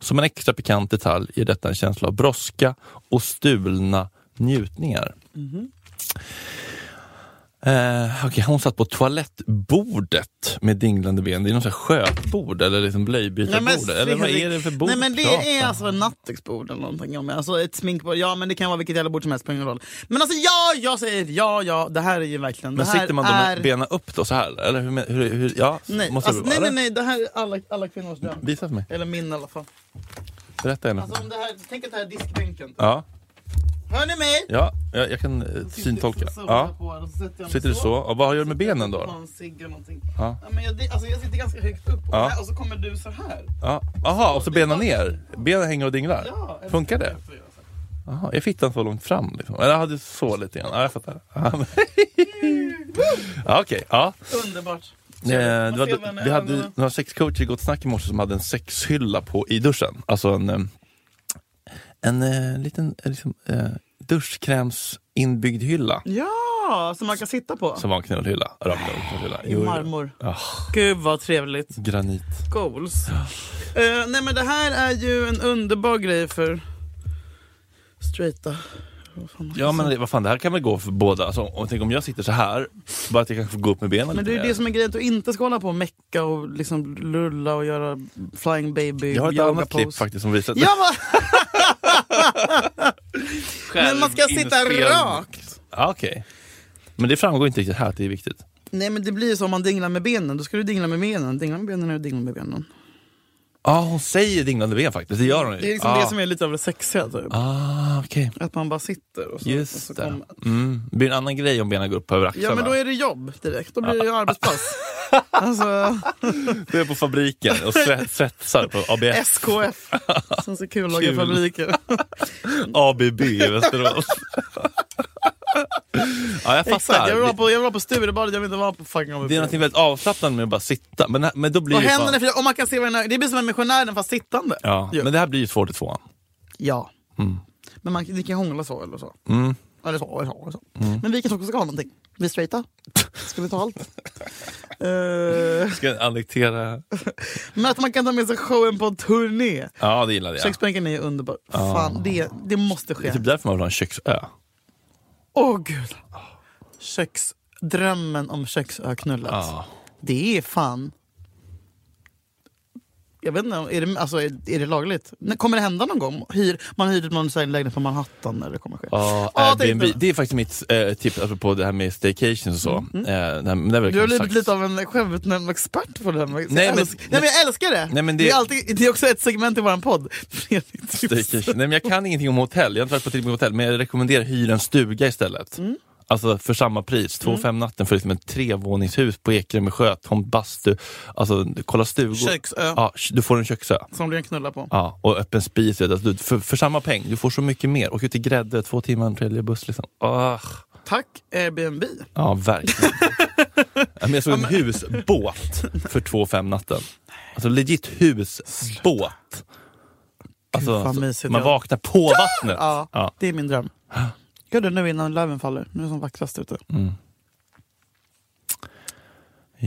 [SPEAKER 2] som en extra pikant detalj ger detta en känsla av brådska och stulna njutningar. Eh, okej, hon satt på toalettbordet med dinglande ben. Det är någon sån här skötbord eller liksom blöjbytarbord. Eller vad är det för bord?
[SPEAKER 3] Nej men
[SPEAKER 2] Ja.
[SPEAKER 3] det är alltså ett nattduksbord eller någonting. om jag- Alltså ett sminkbord. Ja men det kan vara vilket jävla bord som helst, spelar ingen roll. Men alltså ja, jag säger ja, ja. Det här är ju verkligen...
[SPEAKER 2] Men
[SPEAKER 3] det här
[SPEAKER 2] sitter man då
[SPEAKER 3] är...
[SPEAKER 2] med benen upp då så här? Eller hur, hur, hur, ja,
[SPEAKER 3] Nej,
[SPEAKER 2] måste
[SPEAKER 3] alltså,
[SPEAKER 2] det vara,
[SPEAKER 3] nej,
[SPEAKER 2] eller?
[SPEAKER 3] nej, nej. Det här är alla, alla kvinnors dröm.
[SPEAKER 2] Visa för mig.
[SPEAKER 3] Eller min i alla fall.
[SPEAKER 2] Berätta gärna.
[SPEAKER 3] Alltså, om det här, tänk att det här är diskbänken.
[SPEAKER 2] Ja.
[SPEAKER 3] Hör ni mig?
[SPEAKER 2] Ja, jag, jag kan eh, syntolka.
[SPEAKER 3] Så, så,
[SPEAKER 2] Ja.
[SPEAKER 3] på, och så sätter jag mig
[SPEAKER 2] Sitter du så? Och vad gör du med benen
[SPEAKER 3] Ta
[SPEAKER 2] då?
[SPEAKER 3] en cigg eller någonting.
[SPEAKER 2] Ja.
[SPEAKER 3] Ja, men jag, det- alltså, jag sitter ganska högt upp och,
[SPEAKER 2] Ja.
[SPEAKER 3] här, och så kommer du så här.
[SPEAKER 2] Ja. Aha, och så benen ner? Benen hänger och dinglar?
[SPEAKER 3] Ja, eller-
[SPEAKER 2] Funkar det? Aha, är fittan så långt fram? Liksom. Eller jag hade så lite grann. Ja, jag fattar. Ja, men- ja, Okej, ja.
[SPEAKER 3] Underbart.
[SPEAKER 2] Eh, det
[SPEAKER 3] Man ser
[SPEAKER 2] var,
[SPEAKER 3] vem-
[SPEAKER 2] vi
[SPEAKER 3] vem-
[SPEAKER 2] hade några sexcoacher i Gott Snack i morse som hade en sexhylla på, i duschen. Alltså en, eh, en eh, liten eh, liksom, eh, duschkräms inbyggd hylla.
[SPEAKER 3] Ja, som man kan sitta på.
[SPEAKER 2] Som var en knullhylla. Rakt över knullhylla.
[SPEAKER 3] I
[SPEAKER 2] Jo, Ah. jo.
[SPEAKER 3] marmor.
[SPEAKER 2] Ja,
[SPEAKER 3] Gud vad trevligt.
[SPEAKER 2] granit.
[SPEAKER 3] Goals. Eh, nej men det här är ju en underbar grej för straighta. Vad fan man
[SPEAKER 2] Ja
[SPEAKER 3] ska
[SPEAKER 2] men
[SPEAKER 3] säga.
[SPEAKER 2] det- vad fan, det här kan väl gå för båda. Alltså, om, tänk om jag sitter så här, bara att jag kanske får gå upp med benen
[SPEAKER 3] men det är
[SPEAKER 2] lite
[SPEAKER 3] ju
[SPEAKER 2] mer.
[SPEAKER 3] det som är grejen, att du inte ska hålla på och mecka och liksom lulla och göra flying baby
[SPEAKER 2] Jag har ett
[SPEAKER 3] yoga
[SPEAKER 2] annat klipp
[SPEAKER 3] pose.
[SPEAKER 2] faktiskt som visar
[SPEAKER 3] Ja, men, men man ska sitta
[SPEAKER 2] Självinspelning.
[SPEAKER 3] rakt.
[SPEAKER 2] Ja, Ah, Okej. Men det framgår inte riktigt här att det är viktigt.
[SPEAKER 3] Nej men det blir ju så om man dinglar med benen, då ska du dingla med benen. Dingla med benen och dingla med benen.
[SPEAKER 2] Ja, hon säger dinglande ben faktiskt. Det gör hon ju.
[SPEAKER 3] Det är liksom
[SPEAKER 2] ah.
[SPEAKER 3] det som är lite av det sexiga typ.
[SPEAKER 2] Ah, okej.
[SPEAKER 3] Att man bara sitter och så, och så
[SPEAKER 2] Just det.
[SPEAKER 3] kommer-
[SPEAKER 2] Mm. Det blir en annan grej om benen går upp över axlarna.
[SPEAKER 3] Ja men då är det jobb direkt, då blir det ju arbetspass. Alltså
[SPEAKER 2] Du är på fabriken och svets, svetsar på ABF,
[SPEAKER 3] SKF. Sen så kul att
[SPEAKER 2] Kul.
[SPEAKER 3] åka fabriker.
[SPEAKER 2] ABB i Västerås. ja, jag
[SPEAKER 3] Exakt,
[SPEAKER 2] fattar.
[SPEAKER 3] jag vill vara på, jag vill vara på Sturebadet, jag vill inte vara på fucking
[SPEAKER 2] Det är
[SPEAKER 3] ABB.
[SPEAKER 2] något väldigt avslappnande med att bara sitta. Men, men då blir
[SPEAKER 3] Och
[SPEAKER 2] det fan-
[SPEAKER 3] händerna är fria, och man kan se varandra. Det blir som en missionär fast sittande.
[SPEAKER 2] Ja,
[SPEAKER 3] Ju.
[SPEAKER 2] men Mm. det här blir ju svårt i tvåan.
[SPEAKER 3] ja. Men man det kan hångla så eller så.
[SPEAKER 2] Mm.
[SPEAKER 3] Eller så, eller så. Eller så. Men vi kan också ska ha någonting. Vi straighta. Ska vi ta allt? Eh,
[SPEAKER 2] Ska annektera...
[SPEAKER 3] men att man kan ta med sig showen på en turné.
[SPEAKER 2] Ja, det gillade jag.
[SPEAKER 3] Köksbänken är ju underbar. Fan, det, det måste
[SPEAKER 2] Det
[SPEAKER 3] ske.
[SPEAKER 2] är typ därför man vill ha en köksö.
[SPEAKER 3] Åh gud. Köks... Drömmen om köksöknullet.
[SPEAKER 2] Ja.
[SPEAKER 3] Det är fan... Jag vet inte, är det, alltså, är, är det lagligt? När- Kommer det hända någon gång? Hyr, man hyr ut någon sån här lägenhet på Manhattan när det kommer ske.
[SPEAKER 2] Ja,
[SPEAKER 3] Ja,
[SPEAKER 2] Eh, Airbnb.
[SPEAKER 3] tänkte jag.
[SPEAKER 2] Det är faktiskt mitt eh, tips alltså på det här med staycations och så. Eh, det här, men det har vi
[SPEAKER 3] Mm, Du har
[SPEAKER 2] kanske
[SPEAKER 3] blivit
[SPEAKER 2] sagt.
[SPEAKER 3] lite av en självutnämnd expert på det här. Nej,
[SPEAKER 2] Nej,
[SPEAKER 3] jag
[SPEAKER 2] men-
[SPEAKER 3] älsk- nej, men jag älskar det!
[SPEAKER 2] Nej, men det-
[SPEAKER 3] är alltid, det är också ett segment i vår podd. Fredrik tips.
[SPEAKER 2] Staycation. Nej, men jag kan ingenting om hotell. Jag har inte varit på tillräckligt med hotell. Men jag rekommenderar hyra en stuga istället.
[SPEAKER 3] Mm.
[SPEAKER 2] Alltså för samma pris, 2 fem natten för liksom ett trevåningshus på Ekerö med sjötomt, bastu. Alltså kolla stugor.
[SPEAKER 3] Köksö.
[SPEAKER 2] Ja, du får en köksö.
[SPEAKER 3] Som du kan knulla på.
[SPEAKER 2] Ja, och öppen spis. vet du. Alltså, du- för, för samma peng, du får så mycket mer. Åk ut till Grädde, två timmar, en tredje buss. Liksom. Ah.
[SPEAKER 3] Tack Airbnb.
[SPEAKER 2] Ja, verkligen. Ja, men jag såg en husbåt för två fem natten. Alltså legit husbåt. Alltså,
[SPEAKER 3] vad
[SPEAKER 2] alltså,
[SPEAKER 3] mysigt
[SPEAKER 2] man
[SPEAKER 3] det var.
[SPEAKER 2] vaknar på vattnet.
[SPEAKER 3] Ja,
[SPEAKER 2] Ja.
[SPEAKER 3] det är min dröm. Gör det nu innan löven faller. Nu är det som vackrast ute.
[SPEAKER 2] Mm.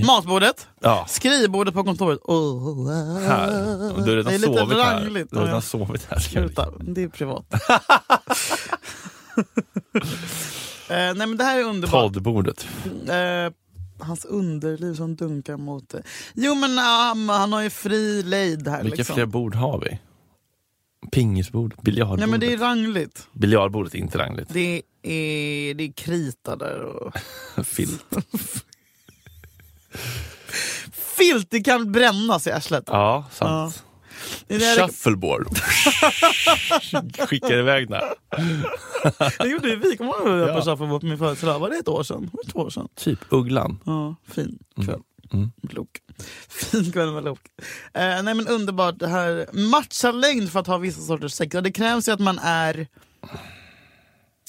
[SPEAKER 3] Matbordet.
[SPEAKER 2] Ja.
[SPEAKER 3] Skrivbordet på kontoret. Oh,
[SPEAKER 2] Här. Du har
[SPEAKER 3] Det
[SPEAKER 2] redan
[SPEAKER 3] är lite
[SPEAKER 2] sovit här.
[SPEAKER 3] rangligt,
[SPEAKER 2] Du har redan
[SPEAKER 3] ja.
[SPEAKER 2] sovit här. ska jag-
[SPEAKER 3] Sluta, det är privat. eh, nej men det här är underbart.
[SPEAKER 2] Poddbordet.
[SPEAKER 3] Eh, hans underliv som dunkar mot det. Jo men um, han har ju fri lejd här
[SPEAKER 2] Vilka
[SPEAKER 3] liksom.
[SPEAKER 2] fler bord har vi? Pingisbordet, biljardbordet.
[SPEAKER 3] Nej men det är rangligt.
[SPEAKER 2] Biljardbordet är inte rangligt.
[SPEAKER 3] Det är, det är krita där och
[SPEAKER 2] Filt.
[SPEAKER 3] Filt, det kan brännas i arslet.
[SPEAKER 2] Ja, sant.
[SPEAKER 3] Det där-
[SPEAKER 2] Shuffleboard. Skickar iväg den. här.
[SPEAKER 3] Det gjorde ju vi, kommer du ihåg
[SPEAKER 2] Ja.
[SPEAKER 3] när jag var på min födelsedag? Var det ett år sedan? Var det två år sedan?
[SPEAKER 2] Typ Ugglan.
[SPEAKER 3] Ja, fin kväll.
[SPEAKER 2] Mm.
[SPEAKER 3] Med Lok. Fin kväll med Lok. Eh, nej men underbart, det här matcharlängd för att ha vissa sorters sex. Ja, Det krävs ju att man är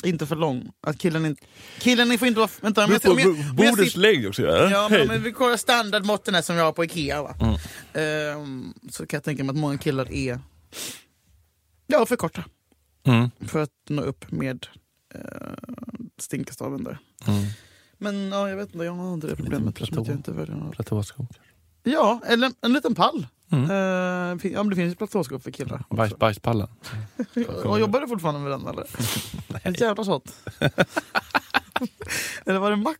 [SPEAKER 3] inte för lång. Att killen inte... Killen får inte vara... Vänta, om jag, om jag, om jag,
[SPEAKER 6] Bordets
[SPEAKER 3] sitter-
[SPEAKER 6] längd också. Ja.
[SPEAKER 3] Ja, men, men vi kollar standardmåtten här som jag har på Ikea. Va?
[SPEAKER 2] Mm.
[SPEAKER 3] Ehm, så kan jag tänka mig att många killar är ja, för korta
[SPEAKER 2] Mm.
[SPEAKER 3] för att nå upp med uh, stinkastaven där.
[SPEAKER 2] Mm.
[SPEAKER 3] Men ja, jag vet inte, jag har inte det problemet eftersom att jag inte väljer några.
[SPEAKER 2] Platåskåp.
[SPEAKER 3] Ja, eller en, en liten pall.
[SPEAKER 2] Mm.
[SPEAKER 3] Eh, fin- ja, men det finns ju platåskåp för killar.
[SPEAKER 2] Bajs, Mm. bajspallen.
[SPEAKER 3] Och jobbar du fortfarande med den eller? Nej. Jävla sånt. eller var det Max?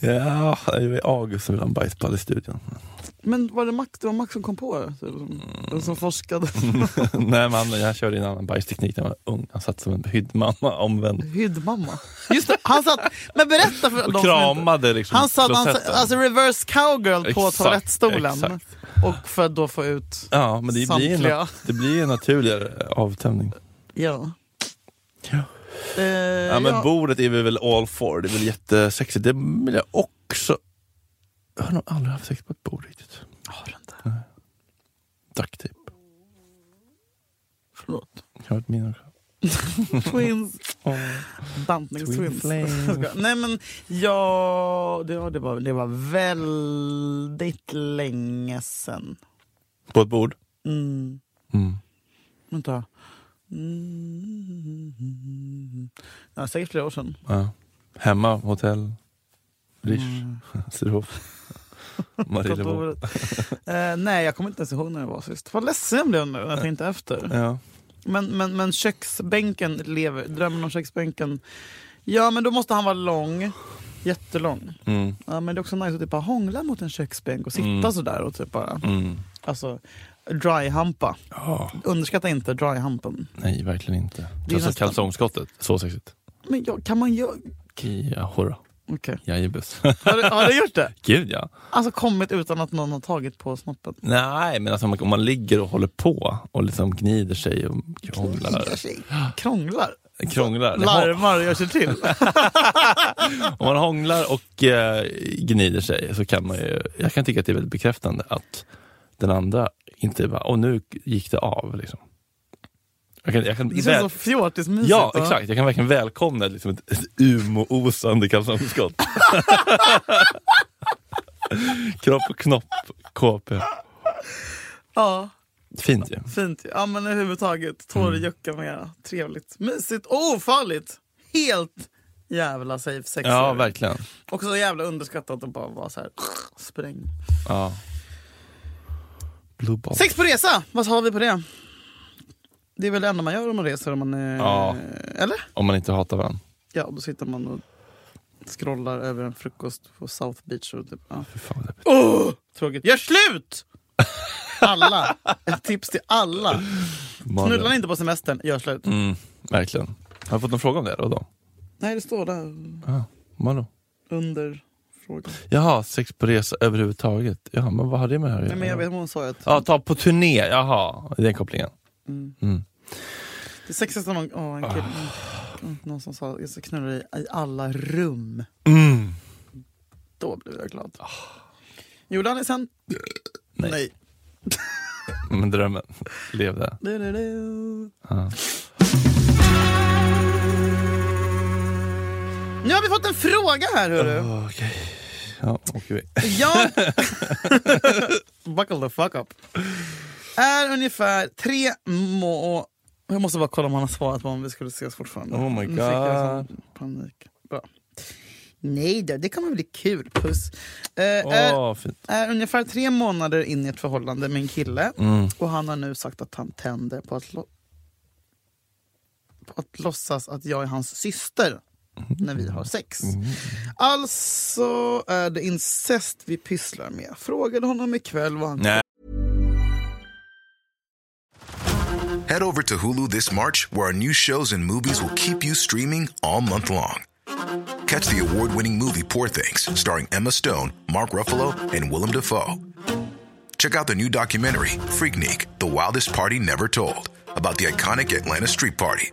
[SPEAKER 2] Ja, det är August som vill ha en bajspall i studion.
[SPEAKER 3] Men var det Max, det var Max som kom på det? Typ, som, som forskade.
[SPEAKER 2] Mm. Nej, men han, jag körde en annan bajsteknik när jag var ung. Han satt som en hyddmamma omvänd.
[SPEAKER 3] Hyddmamma. Just det, han satt... Men berätta för de
[SPEAKER 2] Och
[SPEAKER 3] som inte...
[SPEAKER 2] kramade liksom
[SPEAKER 3] Han satt han, satt-
[SPEAKER 2] klosetten.
[SPEAKER 3] alltså reverse cowgirl på
[SPEAKER 2] Exakt,
[SPEAKER 3] toalettstolen.
[SPEAKER 2] exakt.
[SPEAKER 3] Och för att då få ut...
[SPEAKER 2] Ja, men det blir, en,
[SPEAKER 3] Samtliga. Eh,
[SPEAKER 2] det blir en naturligare avtömning.
[SPEAKER 3] Ja.
[SPEAKER 2] Ja.
[SPEAKER 3] Eh,
[SPEAKER 2] Ja, men
[SPEAKER 3] ja.
[SPEAKER 2] bordet är vi väl all for. Det är väl jättesexigt. Det vill jag också... Jag har nog aldrig haft sex på ett bord riktigt.
[SPEAKER 3] Har du inte?
[SPEAKER 2] Ducktape.
[SPEAKER 3] Förlåt.
[SPEAKER 2] Jag har ett minne också.
[SPEAKER 3] Twins.
[SPEAKER 2] Åh.
[SPEAKER 3] Bantningstwins.
[SPEAKER 2] Twin flames.
[SPEAKER 3] Nej men ja, det, var- det, var, det var väldigt länge sedan.
[SPEAKER 2] På ett bord?
[SPEAKER 3] Mm.
[SPEAKER 2] Mm.
[SPEAKER 3] Vänta. Mm. Ja, säkert flera år sedan.
[SPEAKER 2] Ja. Hemma, hotell,
[SPEAKER 3] Mm.
[SPEAKER 2] Rish, Sirof, Marieholm.
[SPEAKER 3] Kontoret. Eh, nej, jag kommer inte ens ihåg när det var sist. Vad ledsen jag blev nu när jag tänkte efter.
[SPEAKER 2] Ja.
[SPEAKER 3] Men, men, men köksbänken lever. Drömmen om köksbänken. Ja, men då måste han vara lång. Jättelång.
[SPEAKER 2] Mm.
[SPEAKER 3] Ja, men det är också nice att typ bara hångla mot en köksbänk och sitta
[SPEAKER 2] Mm.
[SPEAKER 3] sådär och typ bara...
[SPEAKER 2] Mm.
[SPEAKER 3] Alltså, dryhampa.
[SPEAKER 2] Ja,
[SPEAKER 3] Underskatta inte dryhampen.
[SPEAKER 2] nej, verkligen inte.
[SPEAKER 3] är
[SPEAKER 2] Just
[SPEAKER 3] nästan-
[SPEAKER 2] kalsongskottet, så sexigt.
[SPEAKER 3] Men ja, kan man göra...
[SPEAKER 2] Kia hurra,
[SPEAKER 3] Okej.
[SPEAKER 2] jajebus.
[SPEAKER 3] Har, du- har du gjort det?
[SPEAKER 2] Gud ja.
[SPEAKER 3] Alltså kommit utan att någon har tagit på snoppen.
[SPEAKER 2] Nej, men alltså, om man- om man ligger och håller på och liksom gnider sig och krånglar.
[SPEAKER 3] Krånglar.
[SPEAKER 2] krånglar. Nej,
[SPEAKER 3] Larmar och gör sig till.
[SPEAKER 2] Om man hånglar och eh, gnider sig så kan man ju, jag kan tycka att det är väldigt bekräftande att den andra inte bara, åh nu gick det av liksom. Jag kan, jag kan
[SPEAKER 3] Det
[SPEAKER 2] väl-
[SPEAKER 3] känns så fjortismysigt.
[SPEAKER 2] Ja,
[SPEAKER 3] va?
[SPEAKER 2] exakt. Jag kan verkligen välkomna liksom ett, ett umo-osande kalsongskott. Kropp och knopp, KP.
[SPEAKER 3] Ja,
[SPEAKER 2] Fint ju.
[SPEAKER 3] fint. ju. Ja, men överhuvudtaget. Tår i jucka mera. Trevligt. Mysigt. och Ofarligt. Helt jävla safe sex.
[SPEAKER 2] Ja, verkligen.
[SPEAKER 3] Och så jävla underskattat att bara vara så här spräng.
[SPEAKER 2] Ja. Blue Bob.
[SPEAKER 3] Sex på resa! Vad har vi på det? Det är väl det enda man gör om man reser? Om man, eh,
[SPEAKER 2] Ja.
[SPEAKER 3] Eller?
[SPEAKER 2] Om man inte hatar varandra.
[SPEAKER 3] Ja, då sitter man och scrollar över en frukost på South Beach. Och typ, ja.
[SPEAKER 2] Fy fan vad läbbigt.
[SPEAKER 3] Åh, tråkigt. Gör slut! Alla! Ett tips till alla.
[SPEAKER 2] Malin.
[SPEAKER 3] Knulla inte på semestern, gör slut.
[SPEAKER 2] Mm, verkligen. Har du fått någon fråga om det då? då?
[SPEAKER 3] Nej, det står där
[SPEAKER 2] Ah, Malå.
[SPEAKER 3] under frågan.
[SPEAKER 2] Jaha, sex på resa överhuvudtaget. Ja, men vad har det med det här att
[SPEAKER 3] Nej,
[SPEAKER 2] göra?
[SPEAKER 3] men jag vet vad hon sa. Att
[SPEAKER 2] Ja, ta på turné. Jaha, den kopplingen.
[SPEAKER 3] Det sexigaste någon... Åh, en kille.
[SPEAKER 2] Ah.
[SPEAKER 3] Mm. Någon som sa jag ska knulla dig i alla rum.
[SPEAKER 2] Mm. Ah.
[SPEAKER 3] Då blev jag glad. Gjorde han det sen?
[SPEAKER 2] Nej. Men drömmen. Levde.
[SPEAKER 3] Du, du, du.
[SPEAKER 2] Ja.
[SPEAKER 3] Nu har vi fått en fråga här hörru.
[SPEAKER 2] Okej. Ja, åker vi.
[SPEAKER 3] Jag... Buckle the fuck up. Är ungefär tre må... Jag måste bara kolla om han har svarat på om vi skulle ses fortfarande.
[SPEAKER 2] Oh my
[SPEAKER 3] Nu fick jag
[SPEAKER 2] God.
[SPEAKER 3] sån panik. Bra. Nej då, det kommer bli kul. Puss. Eh, är,
[SPEAKER 2] Åh, fint.
[SPEAKER 3] är ungefär tre månader in i ett förhållande med en kille
[SPEAKER 2] Mm.
[SPEAKER 3] och han har nu sagt att han tänder på att, lo- på att låtsas att jag är hans syster när vi har sex.
[SPEAKER 2] Mm.
[SPEAKER 3] Alltså är det incest vi pysslar med. Frågade honom ikväll vad han
[SPEAKER 2] Nej.
[SPEAKER 7] Head over to Hulu this March, where our new shows and movies will keep you streaming all month long. Catch the award winning movie Poor Things, starring Emma Stone, Mark Ruffalo, and Willem Dafoe. Check out the new documentary, Freaknik The Wildest Party Never Told, about the iconic Atlanta Street Party.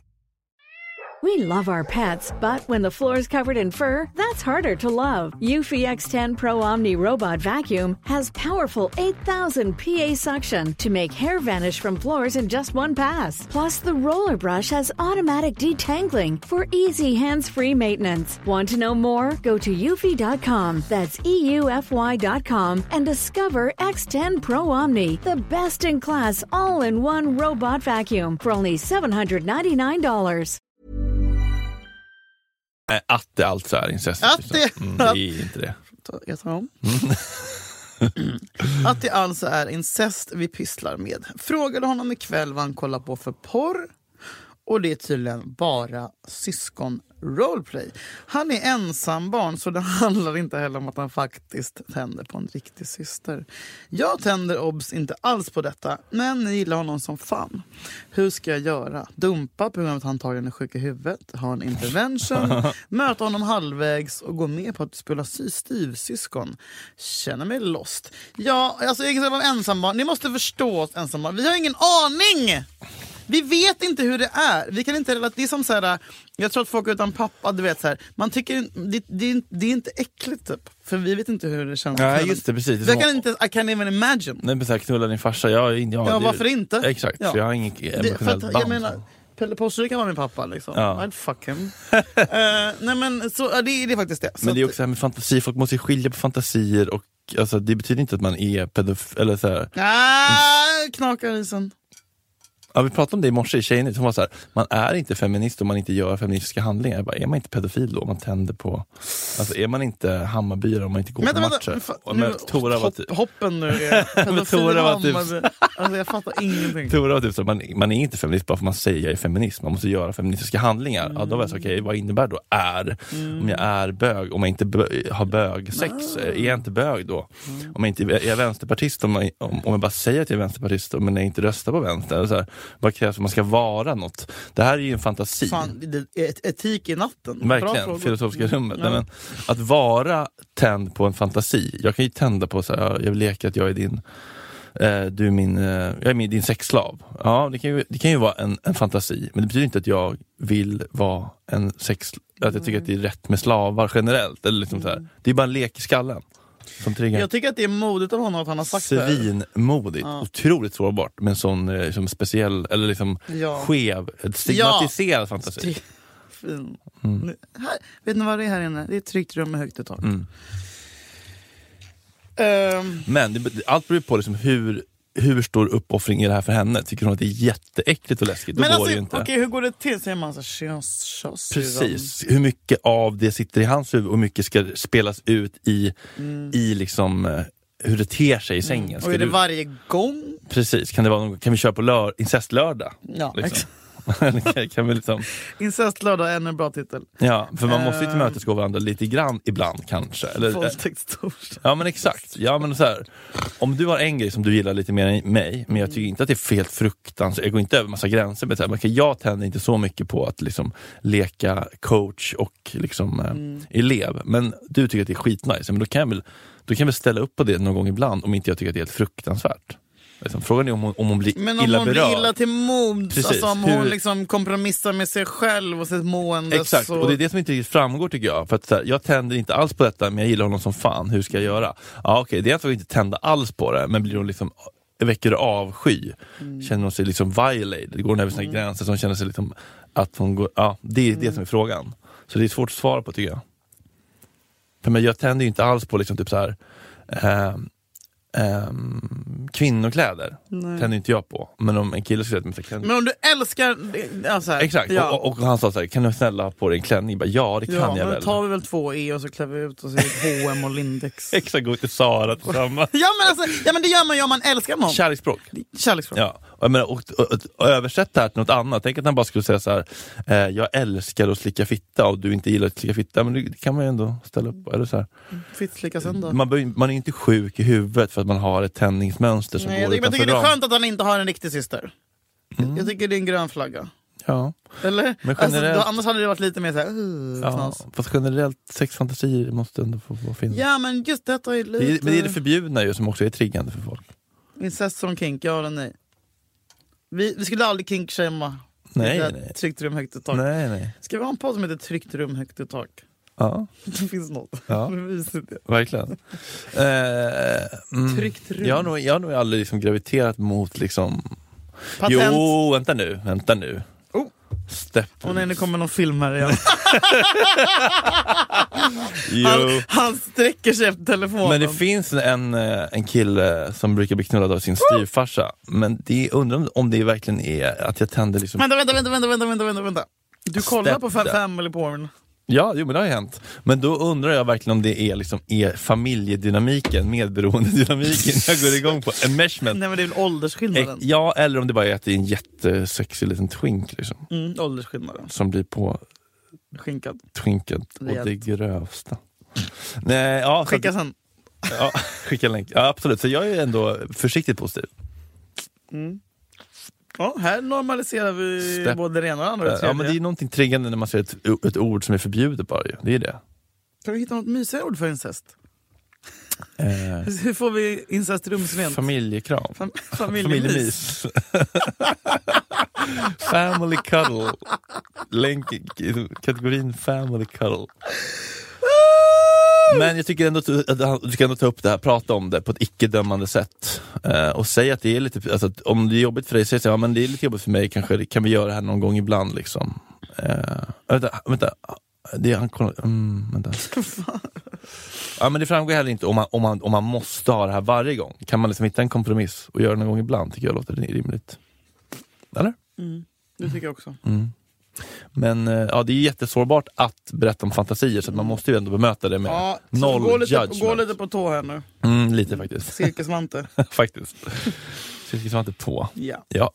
[SPEAKER 6] We love our pets, but when the floor is covered in fur, that's harder to love. Eufy X10 Pro Omni Robot Vacuum has powerful 8,000 PA suction to make hair vanish from floors in just one pass. Plus, the roller brush has automatic detangling for easy hands-free maintenance. Want to know more? Go to eufy.com. That's EUFY.com and discover X10 Pro Omni, the best-in-class all-in-one robot vacuum for only $799.
[SPEAKER 2] Nej, att det alltså är incest.
[SPEAKER 3] Att det-
[SPEAKER 2] mm, det är inte det.
[SPEAKER 3] Ta- Jag tar om.
[SPEAKER 2] Mm.
[SPEAKER 3] att det alltså är incest vi pysslar med. Frågade honom ikväll vad han kollar på för porr. Och det är tydligen bara syskon roleplay. Han är ensambarn så det handlar inte heller om att han faktiskt tänder på en riktig syster. Jag tänder obs inte alls på detta, men jag gillar honom som fan. Hur ska jag göra? Dumpa på grund av att han antagligen är sjuk i huvudet, ha en intervention, möta honom halvvägs och gå med på att spela sy- styvsyskon. Känner mig lost. Ja, alltså jag kan säga om ensambarn, ni måste förstå oss ensambarn. Vi har ingen aning! Vi vet inte hur det är. Vi kan inte relatera. Det är som så här, jag tror att folk utan pappa, du vet så här, man tycker det, det, det är inte äckligt typ. För vi vet inte hur det känns.
[SPEAKER 2] Nej, just det, precis. Det är
[SPEAKER 3] Jag
[SPEAKER 2] som-
[SPEAKER 3] kan inte, I can't even imagine.
[SPEAKER 2] Nej, men så här, knulla din farsa. Jag, jag,
[SPEAKER 3] Ja, varför inte?
[SPEAKER 2] Exakt,
[SPEAKER 3] Ja.
[SPEAKER 2] för jag har inget
[SPEAKER 3] Det, för
[SPEAKER 2] emotionellt
[SPEAKER 3] att, jag
[SPEAKER 2] band.
[SPEAKER 3] menar, Pelle Posseviken var min pappa liksom.
[SPEAKER 2] Ja.
[SPEAKER 3] I'd fuck him. Eh, nej men så, ja, det, det är faktiskt det. Så
[SPEAKER 2] men det är
[SPEAKER 3] att-
[SPEAKER 2] också det här med fantasi, folk måste ju skilja på fantasier och alltså, det betyder inte att man är pedof... Eller så här.
[SPEAKER 3] Ah, knakar isen.
[SPEAKER 2] Ja, vi pratade om det i morse i Tjejnytt, hon var så här, man är inte feminist om man inte gör feministiska handlingar. Jag bara, är man inte pedofil då om man tänder på... Alltså är man inte hammarbyare om man inte går
[SPEAKER 3] Vänta,
[SPEAKER 2] på
[SPEAKER 3] vänta.
[SPEAKER 2] matcher?
[SPEAKER 3] fa-
[SPEAKER 2] Och
[SPEAKER 3] nu-
[SPEAKER 2] men Tora var typ...
[SPEAKER 3] hopp, hoppen nu är pedofil
[SPEAKER 2] Tora var typ-
[SPEAKER 3] hammade. Alltså jag fattar ingenting.
[SPEAKER 2] Tora var typ så, här, man, man är inte feminist bara för man säger jag är feminist, man måste göra feministiska handlingar. Ja, då var jag så, okej, vad innebär då är? Om jag är bög, om jag inte bö, har
[SPEAKER 3] Ah.
[SPEAKER 2] bögsex, är jag inte bög då? Om jag inte är jag vänsterpartist, om jag, om, om jag bara säger att jag är vänsterpartist men jag inte röstar på vänster? eller Så här, vad krävs för att man ska vara något? Det här är ju en fantasi.
[SPEAKER 3] Fan, det, et- etik i natten. Bra
[SPEAKER 2] Verkligen,
[SPEAKER 3] frågor.
[SPEAKER 2] filosofiska rummet.
[SPEAKER 3] Ja.
[SPEAKER 2] Nej, men, att vara tänd på en fantasi. Jag kan ju tända på så här, jag leker att jag är din eh, du är min, eh, jag är min, din sexslav. Ja, det kan ju, det kan ju vara en, en fantasi, men det betyder inte att jag vill vara en sex... Att jag tycker att det är rätt med slavar generellt. Eller liksom så här. Det är bara en lek i skallen. Som triggar.
[SPEAKER 3] Mm. Jag tycker att det är modigt av honom att han har sagt det. här.
[SPEAKER 2] Svinmodigt,
[SPEAKER 3] Ja.
[SPEAKER 2] otroligt sårbart med en sån eh, liksom speciell, eller liksom
[SPEAKER 3] Ja.
[SPEAKER 2] skev, stigmatiserad fantasi.
[SPEAKER 3] Stri- Fin. Nu- Här, vet ni vad det är här inne? Det är ett tryggt rum med högt i tak.
[SPEAKER 2] Mm.
[SPEAKER 3] Ehm,
[SPEAKER 2] Men det, allt beror ju på liksom hur, hur stor uppoffring är det här för henne? Tycker hon att det är jätteäckligt och läskigt? Då
[SPEAKER 3] men
[SPEAKER 2] går
[SPEAKER 3] alltså,
[SPEAKER 2] det ju inte.
[SPEAKER 3] okej, hur går det till? Säger man så köns, köns,
[SPEAKER 2] Precis. Hur mycket av det sitter i hans huvud och hur mycket ska spelas ut i, i liksom, eh, hur det ter sig i sängen? Ska
[SPEAKER 3] Mm. Och är det
[SPEAKER 2] du-
[SPEAKER 3] varje gång?
[SPEAKER 2] Precis. Kan, det vara någon, kan vi köra på lör, incestlördag?
[SPEAKER 3] Ja,
[SPEAKER 2] Liksom.
[SPEAKER 3] exakt.
[SPEAKER 2] kan vi liksom,
[SPEAKER 3] Incestlördag är ännu en bra titel.
[SPEAKER 2] ja, för man måste ju
[SPEAKER 3] Ehm.
[SPEAKER 2] tillmötesgå varandra lite grann ibland kanske. Eller, eh,
[SPEAKER 3] Våldtäktstorsdag.
[SPEAKER 2] Ja men exakt. Ja, men så här, om du har en grej som du gillar lite mer än mig, men jag
[SPEAKER 3] Mm.
[SPEAKER 2] tycker inte att det är fel fruktansvärt, jag går inte över massa gränser, men så här, men okej, jag tänder inte så mycket på att liksom leka coach och liksom, eh,
[SPEAKER 3] Mm.
[SPEAKER 2] elev, men du tycker att det är skitnice, men då kan, jag väl, då kan jag väl ställa upp på det någon gång ibland om inte jag tycker att det är helt fruktansvärt. Liksom, frågan är om hon, om hon blir
[SPEAKER 3] Men om
[SPEAKER 2] illa
[SPEAKER 3] hon
[SPEAKER 2] berörd.
[SPEAKER 3] blir illa till mods,
[SPEAKER 2] Precis.
[SPEAKER 3] alltså om hon
[SPEAKER 2] Hur-
[SPEAKER 3] liksom kompromissar med sig själv och sitt mående.
[SPEAKER 2] Exakt,
[SPEAKER 3] så...
[SPEAKER 2] och det är det som inte riktigt framgår tycker jag. För att, så här, jag tänder inte alls på detta, men jag gillar honom som fan. Hur ska jag göra? Ja, okej, det är att vi inte tända alls på det, men blir hon liksom väcker det avsky? Känner hon sig liksom violated? Går hon över sina gränser? Så hon känner sig liksom att hon går... Ja, det är det som är frågan. Så det är svårt att svara på tycker jag. För men jag tänder ju inte alls på liksom typ så här, eh, ehm, kvinnokläder tänder inte jag på. Men om en kille skulle säga till mig, kan...
[SPEAKER 3] Men om du älskar... Ja, så här,
[SPEAKER 2] Exakt,
[SPEAKER 3] Ja.
[SPEAKER 2] och, och, och han sa så här, kan du snälla ha på dig en klänning? Jag bara, ja, det kan
[SPEAKER 3] ja,
[SPEAKER 2] jag
[SPEAKER 3] men då
[SPEAKER 2] väl.
[SPEAKER 3] tar vi väl två E och så klär vi ut oss i H&M och Lindex.
[SPEAKER 2] Exakt, gå till Sara tillsammans.
[SPEAKER 3] Ja men, alltså, ja men det gör man ju om man älskar någon.
[SPEAKER 2] Kärleksspråk.
[SPEAKER 3] Kärleksspråk.
[SPEAKER 2] Ja, och, jag menar, och, och, och översätt det här till något annat. Tänk att han bara skulle säga så här, eh, jag älskar att slicka fitta och du inte gillar att slicka fitta. Men det, det kan man ju ändå ställa upp på, eller så här.
[SPEAKER 3] Fitt lika söndag.
[SPEAKER 2] Man, behöver- man är inte sjuk i huvudet för att man har ett tändningsmönster som
[SPEAKER 3] Nej, jag,
[SPEAKER 2] går
[SPEAKER 3] tycker- jag
[SPEAKER 2] utanför
[SPEAKER 3] tycker det är
[SPEAKER 2] ram.
[SPEAKER 3] skönt att han inte har en riktig syster. Jag, jag tycker det är en grön flagga.
[SPEAKER 2] Ja.
[SPEAKER 3] Eller?
[SPEAKER 2] Men
[SPEAKER 3] alltså,
[SPEAKER 2] generellt-
[SPEAKER 3] då, annars hade det varit lite mer såhär... Uh,
[SPEAKER 2] Ja,
[SPEAKER 3] ja.
[SPEAKER 2] fast generellt, sexfantasier måste ändå få, få finnas.
[SPEAKER 3] ja men just detta är
[SPEAKER 2] Det är,
[SPEAKER 3] lite...
[SPEAKER 2] men det är det förbjudna ju som också är triggande för folk.
[SPEAKER 3] Incest som kink, ja eller nej? Vi, vi skulle aldrig kinkshamea.
[SPEAKER 2] Nej,
[SPEAKER 3] Det är
[SPEAKER 2] nej.
[SPEAKER 3] Tryggt rum högt i tak.
[SPEAKER 2] Nej, nej.
[SPEAKER 3] Ska vi ha en podd som heter Tryggt rum högt i tak?
[SPEAKER 2] Ja,
[SPEAKER 3] Det finns något.
[SPEAKER 2] Ja.
[SPEAKER 3] Det är mysigt.
[SPEAKER 2] verkligen. eh, mm.
[SPEAKER 3] Tryggt rum.
[SPEAKER 2] Jag har nog, jag har nog aldrig liksom graviterat mot liksom...
[SPEAKER 3] Patent.
[SPEAKER 2] Jo, vänta nu, vänta nu.
[SPEAKER 3] Oh.
[SPEAKER 2] Step.
[SPEAKER 3] Åh nej, nu kommer någon film här igen.
[SPEAKER 2] Jo.
[SPEAKER 3] Han, han sträcker sig efter telefonen.
[SPEAKER 2] Men det finns en, eh, en kille som brukar bli knullad av sin styvfarsa. Men det är, undrar om- om det verkligen är att jag tänder liksom...
[SPEAKER 3] Vänta, vänta, vänta, vänta, vänta, vänta, vänta, vänta. Du kollar
[SPEAKER 2] Step
[SPEAKER 3] på fa-
[SPEAKER 2] där.
[SPEAKER 3] family porn.
[SPEAKER 2] Ja, jo, men det har ju hänt. Men då undrar jag verkligen om det är liksom är familjedynamiken, medberoendedynamiken jag går igång på. Enmeshment.
[SPEAKER 3] Nej men det är väl
[SPEAKER 2] Eh,
[SPEAKER 3] åldersskillnaden.
[SPEAKER 2] Ja, eller om det bara är att det är en jättesexig liten twink liksom,
[SPEAKER 3] Mm, åldersskillnaden.
[SPEAKER 2] som blir på
[SPEAKER 3] Skinkad.
[SPEAKER 2] twinket och det
[SPEAKER 3] Rejält.
[SPEAKER 2] grövsta. Nej, ja, så
[SPEAKER 3] Skicka
[SPEAKER 2] att-
[SPEAKER 3] sen.
[SPEAKER 2] ja, skicka länk. Ja, absolut. Så jag är ändå försiktigt positiv.
[SPEAKER 3] Ja, här normaliserar vi
[SPEAKER 2] Step.
[SPEAKER 3] både det ena och det andra. och det
[SPEAKER 2] Ja, men det är
[SPEAKER 3] tredje.
[SPEAKER 2] ju någonting triggande när man ser ett, ett ord som är förbjudet bara ju. Det är det.
[SPEAKER 3] Kan vi hitta något mysigare ord för incest?
[SPEAKER 2] Eh,
[SPEAKER 3] Hur får vi incest rumsrent?
[SPEAKER 2] familjekram.
[SPEAKER 3] Fam- familjemys.
[SPEAKER 2] Familjemys. family cuddle. Länk i kategorin family cuddle. Men jag tycker ändå att- att han- du ska ändå ta upp det här, prata om det på ett icke-dömande sätt. Eh, och säg att det är lite, alltså, att om det är jobbigt för dig, säg så här, ja, men det är lite jobbigt för mig, kanske det- kan vi göra det här någon gång ibland liksom. Eh, vänta, vänta. Det är, han kollar- mm, vänta. Ja, men det framgår heller inte om man, om, man, om man måste ha det här varje gång. Kan man liksom hitta en kompromiss och göra det någon gång ibland, tycker jag låter rimligt. Eller?
[SPEAKER 3] Det tycker jag också.
[SPEAKER 2] Mm. Men eh, ja, det är ju jättesårbart att berätta om fantasier, så att man måste ju ändå bemöta det med
[SPEAKER 3] Ja, så
[SPEAKER 2] noll
[SPEAKER 3] gå, lite,
[SPEAKER 2] judgment.
[SPEAKER 3] gå lite på tå här nu.
[SPEAKER 2] Mm, lite faktiskt.
[SPEAKER 3] Silkesvante.
[SPEAKER 2] faktiskt. Silkesvante på.
[SPEAKER 3] ja.
[SPEAKER 2] Ja.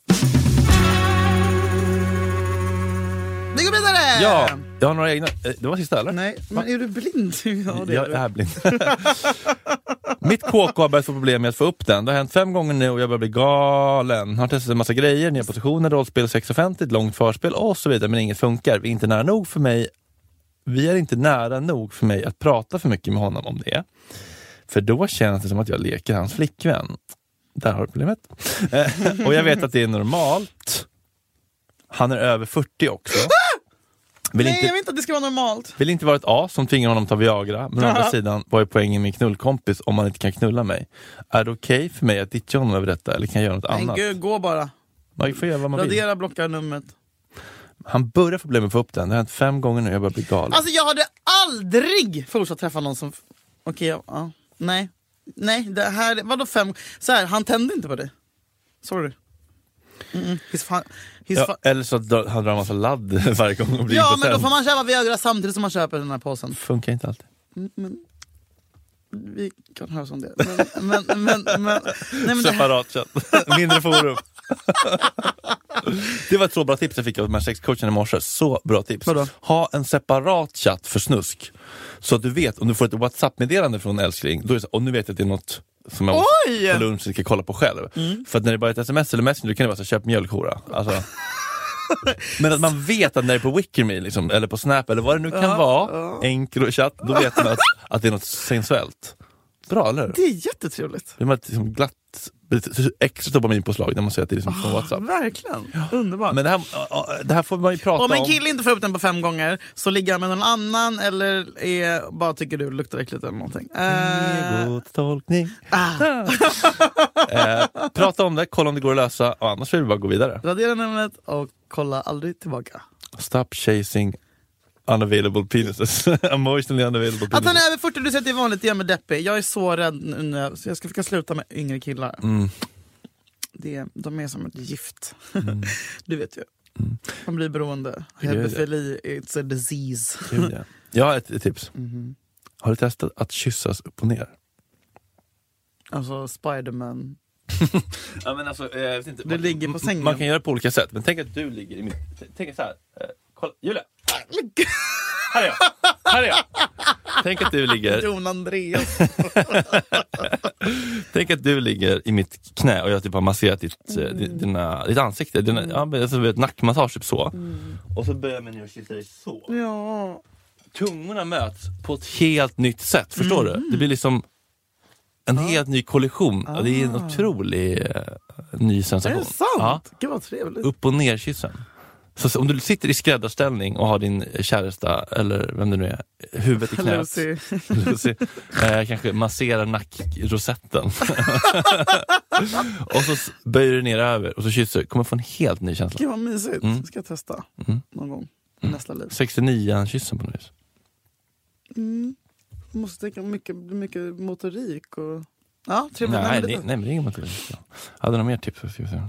[SPEAKER 3] Vi går vidare!
[SPEAKER 2] ja, jag har några egna. eh, Det var sista eller?
[SPEAKER 3] Nej, men är du blind? Ja, det
[SPEAKER 2] jag
[SPEAKER 3] är
[SPEAKER 2] är
[SPEAKER 3] du.
[SPEAKER 2] blind. Mitt KK har börjat få problem med att få upp den. Det har hänt fem gånger nu och jag börjar bli galen. Har testat en massa grejer, nya positioner, rollspel, sex offentligt, långt förspel och så vidare, men inget funkar. Vi är inte nära nog för mig. Vi är inte nära nog för mig att prata för mycket med honom om det. För då känns det som att jag leker hans flickvän. Där har du problemet. Eh, och jag vet att det är normalt. Han är över 40 också. Vill
[SPEAKER 3] Nej,
[SPEAKER 2] inte-
[SPEAKER 3] jag vill inte att det ska vara normalt.
[SPEAKER 2] vill inte vara ett as som tvingar honom att ta Viagra, men å andra sidan, vad är poängen med en knullkompis om man inte kan knulla mig? Är det okej för mig att ditcha honom över detta eller kan jag göra något
[SPEAKER 3] Men
[SPEAKER 2] annat?
[SPEAKER 3] gud, gå bara.
[SPEAKER 2] Man får göra vad man vill.
[SPEAKER 3] Radera, blocka numret.
[SPEAKER 2] Han börjar få problem med att få upp den, det har hänt fem gånger nu, jag börjar bli galen.
[SPEAKER 3] Alltså jag hade aldrig fortsatt träffa någon som... Okej, ja, ja. Nej. Nej, det här... Vadå fem... Så här, han tände inte på dig. Sorry. Mm-mm. His fa- his
[SPEAKER 2] ja,
[SPEAKER 3] fa-
[SPEAKER 2] eller så drar han drar en massa ladd varje gång och blir
[SPEAKER 3] ja, men
[SPEAKER 2] impotent.
[SPEAKER 3] då får man köpa Viagra samtidigt som man köper den här påsen.
[SPEAKER 2] Funkar inte alltid.
[SPEAKER 3] Vi kan höra om det. Men, men, men, men, nej, men det här,
[SPEAKER 2] Separat chatt. Mindre forum. det var ett så bra tips jag fick av de här sexcoachen i morse. Så bra tips.
[SPEAKER 3] Vadå?
[SPEAKER 2] Ha en separat chatt för snusk. Så att du vet, om du får ett WhatsApp-meddelande från en älskling, då är det så, och nu vet jag att det är något som jag
[SPEAKER 3] Oj! Mm.
[SPEAKER 2] måste på lunchen ska kolla på själv. För att när det bara är ett sms eller messenger, då kan det vara så här, köp mjölkhora. Alltså. Men att man vet att när det är på Wickerme, liksom, eller på Snap eller vad det nu kan vara, enkel och chatt, då vet man att, att det är något sensuellt. Bra, eller hur?
[SPEAKER 3] det är jättetrevligt.
[SPEAKER 2] Det var ett liksom glatt, lite extra dopaminpåslag när man säger att det är liksom
[SPEAKER 3] Ah,
[SPEAKER 2] från Whatsapp.
[SPEAKER 3] Verkligen. Underbart.
[SPEAKER 2] Men det här, ah, det här får man ju prata
[SPEAKER 3] Om
[SPEAKER 2] om.
[SPEAKER 3] en kille inte får upp den på fem gånger så ligger han med någon annan eller är, bara tycker du luktar äckligt eller någonting. Eh,
[SPEAKER 2] Egotolkning.
[SPEAKER 3] Ah.
[SPEAKER 2] eh, prata om det, kolla om det går att lösa och annars vill vi bara gå vidare.
[SPEAKER 3] radera numret och kolla aldrig tillbaka.
[SPEAKER 2] Stop chasing unavailable penises. Emotionally unavailable
[SPEAKER 3] Att
[SPEAKER 2] penises.
[SPEAKER 3] han är över 40, du säger att det är vanligt, det gör mig deppig. Jag är så rädd nu, när jag- så jag ska försöka sluta med yngre killar.
[SPEAKER 2] Mm.
[SPEAKER 3] Det, de är som ett gift.
[SPEAKER 2] Mm.
[SPEAKER 3] du vet ju. Man blir beroende.
[SPEAKER 2] Gud, ja.
[SPEAKER 3] Hebefili, it's a disease.
[SPEAKER 2] Gud, ja. Jag har ett, ett tips.
[SPEAKER 3] Mhm.
[SPEAKER 2] Har du testat att kyssas upp och ner?
[SPEAKER 3] Alltså Spiderman.
[SPEAKER 2] Ja, men alltså, eh, jag vet inte.
[SPEAKER 3] Du ligger på sängen.
[SPEAKER 2] Man kan göra på olika sätt, men tänk att du ligger i mitt... t- Tänk så här. Eh, kolla, Julia! Här är jag! Här är jag! Tänk att du ligger,
[SPEAKER 3] Jon Andreas.
[SPEAKER 2] tänk att du ligger i mitt knä och jag typ har masserat ditt, eh, di-
[SPEAKER 3] Mm.
[SPEAKER 2] dina, ditt ansikte, dina, ja, men alltså, vet, nackmassage typ så. Och så börjar man nu kyssa dig så.
[SPEAKER 3] Mm. ja.
[SPEAKER 2] Tungorna möts på ett helt nytt sätt, förstår
[SPEAKER 3] Mm.
[SPEAKER 2] du? Det blir liksom en helt ny kollision. Ja, Det är en otrolig eh, ny
[SPEAKER 3] Är
[SPEAKER 2] sensation.
[SPEAKER 3] Ah. det sant?
[SPEAKER 2] Ja.
[SPEAKER 3] Gud vad trevligt.
[SPEAKER 2] upp och nerkyssen. Så, så om du sitter i skräddarställning och har din käresta, eller vem det nu är, huvudet i knät.
[SPEAKER 3] Lucy.
[SPEAKER 2] Lucy, eh, kanske masserar nackrosetten. och så s- böjer du ner över och så kysser du. kommer få en helt ny känsla.
[SPEAKER 3] Gud vad mysigt.
[SPEAKER 2] Mm.
[SPEAKER 3] Ska jag testa någon gång i nästa liv.
[SPEAKER 2] 69-kyssen på något vis.
[SPEAKER 3] Jag måste tänka mycket, mycket motorik och... Ja, trevligt.
[SPEAKER 2] Nej,
[SPEAKER 3] Nej,
[SPEAKER 2] det,
[SPEAKER 3] men
[SPEAKER 2] nej,
[SPEAKER 3] det-
[SPEAKER 2] men det är inget motiv. Hade du några mer tips? Ska vi se.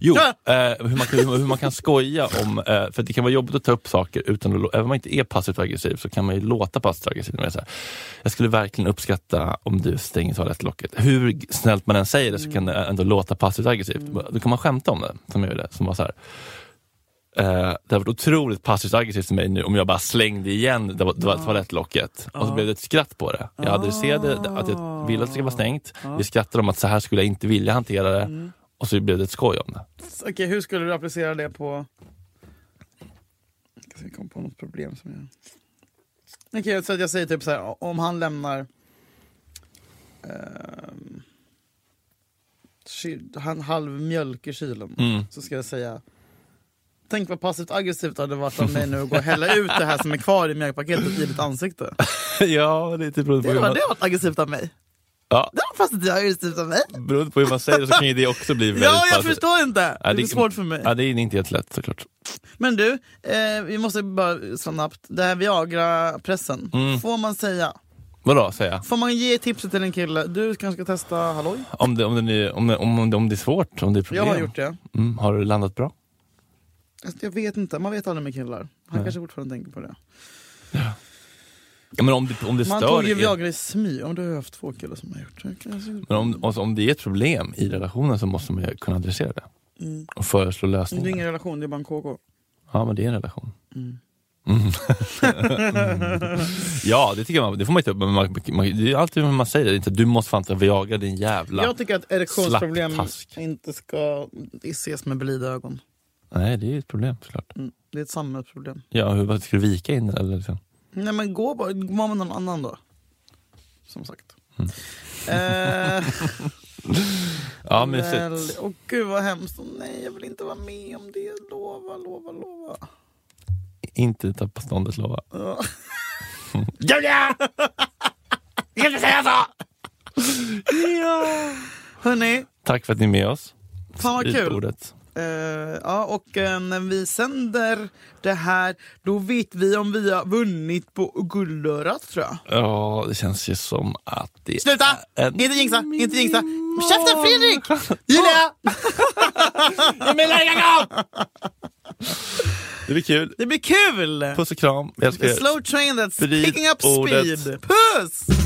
[SPEAKER 2] Jo, eh, hur, man kan, hur man kan skoja om, eh, för att det kan vara jobbigt att ta upp saker utan att, lå- även om man inte är passivt aggressiv så kan man ju låta passivt aggressiv. Man är så här, Jag skulle verkligen uppskatta om du stänger toalettlocket. Hur g- snällt man än säger det så
[SPEAKER 3] Mm.
[SPEAKER 2] kan det ändå låta passivt aggressivt. Då kan man skämta om det, som jag gjorde. Som var så här, Eh, det har varit otroligt passivt aggressivt för mig nu om jag bara slängde igen det, det
[SPEAKER 3] Ah.
[SPEAKER 2] var toalettlocket och så blev det ett skratt på det. Jag adresserade det- att jag ville att det skulle vara stängt.
[SPEAKER 3] Ah.
[SPEAKER 2] Vi skrattade om att så här skulle jag inte vilja hantera det
[SPEAKER 3] Mm.
[SPEAKER 2] och så blev det ett skoj om det.
[SPEAKER 3] Okej, hur skulle du applicera det på... Jag ska komma på något problem som jag... Okej, så att jag säger typ så här, om han lämnar... ehm, kyl, han halv mjölk i kylen,
[SPEAKER 2] Mm.
[SPEAKER 3] så ska jag säga... Tänk vad passivt aggressivt det hade varit av mig nu att gå och hälla ut det här som är kvar i mjölkpaketet i ditt ansikte.
[SPEAKER 2] ja, lite beroende
[SPEAKER 3] Det
[SPEAKER 2] på, hur
[SPEAKER 3] var
[SPEAKER 2] man,
[SPEAKER 3] det var aggressivt av mig.
[SPEAKER 2] ja,
[SPEAKER 3] Det var passivt aggressivt av mig.
[SPEAKER 2] beroende på hur man säger det så kan ju det också bli väldigt
[SPEAKER 3] Ja, jag
[SPEAKER 2] passivt.
[SPEAKER 3] förstår inte.
[SPEAKER 2] Ja,
[SPEAKER 3] Det är svårt för mig.
[SPEAKER 2] Ja, det är inte helt lätt såklart.
[SPEAKER 3] Men du, eh, vi måste bara snabbt. Det här Viagra-pressen.
[SPEAKER 2] Mm.
[SPEAKER 3] Får man säga?
[SPEAKER 2] Vadå, säger jag?
[SPEAKER 3] Får man ge tipset till en kille? Du kanske ska testa halloj?
[SPEAKER 2] Om det, om, det, nu- om, det, om, det, om det är svårt, om det är
[SPEAKER 3] Jag
[SPEAKER 2] problem.
[SPEAKER 3] har gjort det.
[SPEAKER 2] Mm, har du landat bra?
[SPEAKER 3] Alltså, Jag vet inte, man vet aldrig med killar. Han kanske fortfarande tänker på det.
[SPEAKER 2] Ja, men om det, om det
[SPEAKER 3] Man
[SPEAKER 2] stör
[SPEAKER 3] tog ju
[SPEAKER 2] er-
[SPEAKER 3] Viagra i smy. Om du har jag haft två killar som har gjort det. Kanske-
[SPEAKER 2] Men om, alltså, om det är ett problem i relationen så måste man ju kunna adressera det. Och föreslå
[SPEAKER 3] Det Mm. är
[SPEAKER 2] lösningar.
[SPEAKER 3] ingen relation, det är bara en KK.
[SPEAKER 2] Ja, men det är en relation. Mm. ja, det tycker man. Det får man ju ta upp. Men man, man, det är alltid hur man säger det. det. är Inte, du måste fan ta Viagra din jävla...
[SPEAKER 3] Jag tycker att erektionsproblem
[SPEAKER 2] Slapptask.
[SPEAKER 3] inte ska ses med blida ögon.
[SPEAKER 2] Nej, det är ju ett problem såklart.
[SPEAKER 3] Mm. Det är ett samhällsproblem.
[SPEAKER 2] Ja, hur, vad, ska du vika in det, eller liksom?
[SPEAKER 3] Nej men gå bara, var med någon annan då. Som sagt.
[SPEAKER 2] Mm.
[SPEAKER 3] Eh,
[SPEAKER 2] Ja,
[SPEAKER 3] Väl,
[SPEAKER 2] mysigt.
[SPEAKER 3] och gud vad hemskt. Åh, nej, jag vill inte vara med om det. Lova, lova, lova.
[SPEAKER 2] Inte tappa ståndet, lova.
[SPEAKER 3] Ja.
[SPEAKER 2] Julia! Du kan inte säga så!
[SPEAKER 3] Hörni,
[SPEAKER 2] Tack för att ni är med oss.
[SPEAKER 3] fan vad
[SPEAKER 2] Vid
[SPEAKER 3] kul.
[SPEAKER 2] bordet.
[SPEAKER 3] Eh, ja, och eh, när vi sänder det här, då vet vi om vi har vunnit på Guldörat tror jag.
[SPEAKER 2] Ja, det känns ju som att det
[SPEAKER 3] Sluta!
[SPEAKER 2] är en...
[SPEAKER 3] Inte jinxa, inte jinxa. Käften Fredrik! Julia!
[SPEAKER 2] Det blir kul.
[SPEAKER 3] Det blir kul!
[SPEAKER 2] Puss och kram. Jag ska...
[SPEAKER 3] The slow train that's
[SPEAKER 2] Sprid
[SPEAKER 3] picking up
[SPEAKER 2] ordet.
[SPEAKER 3] speed. Puss!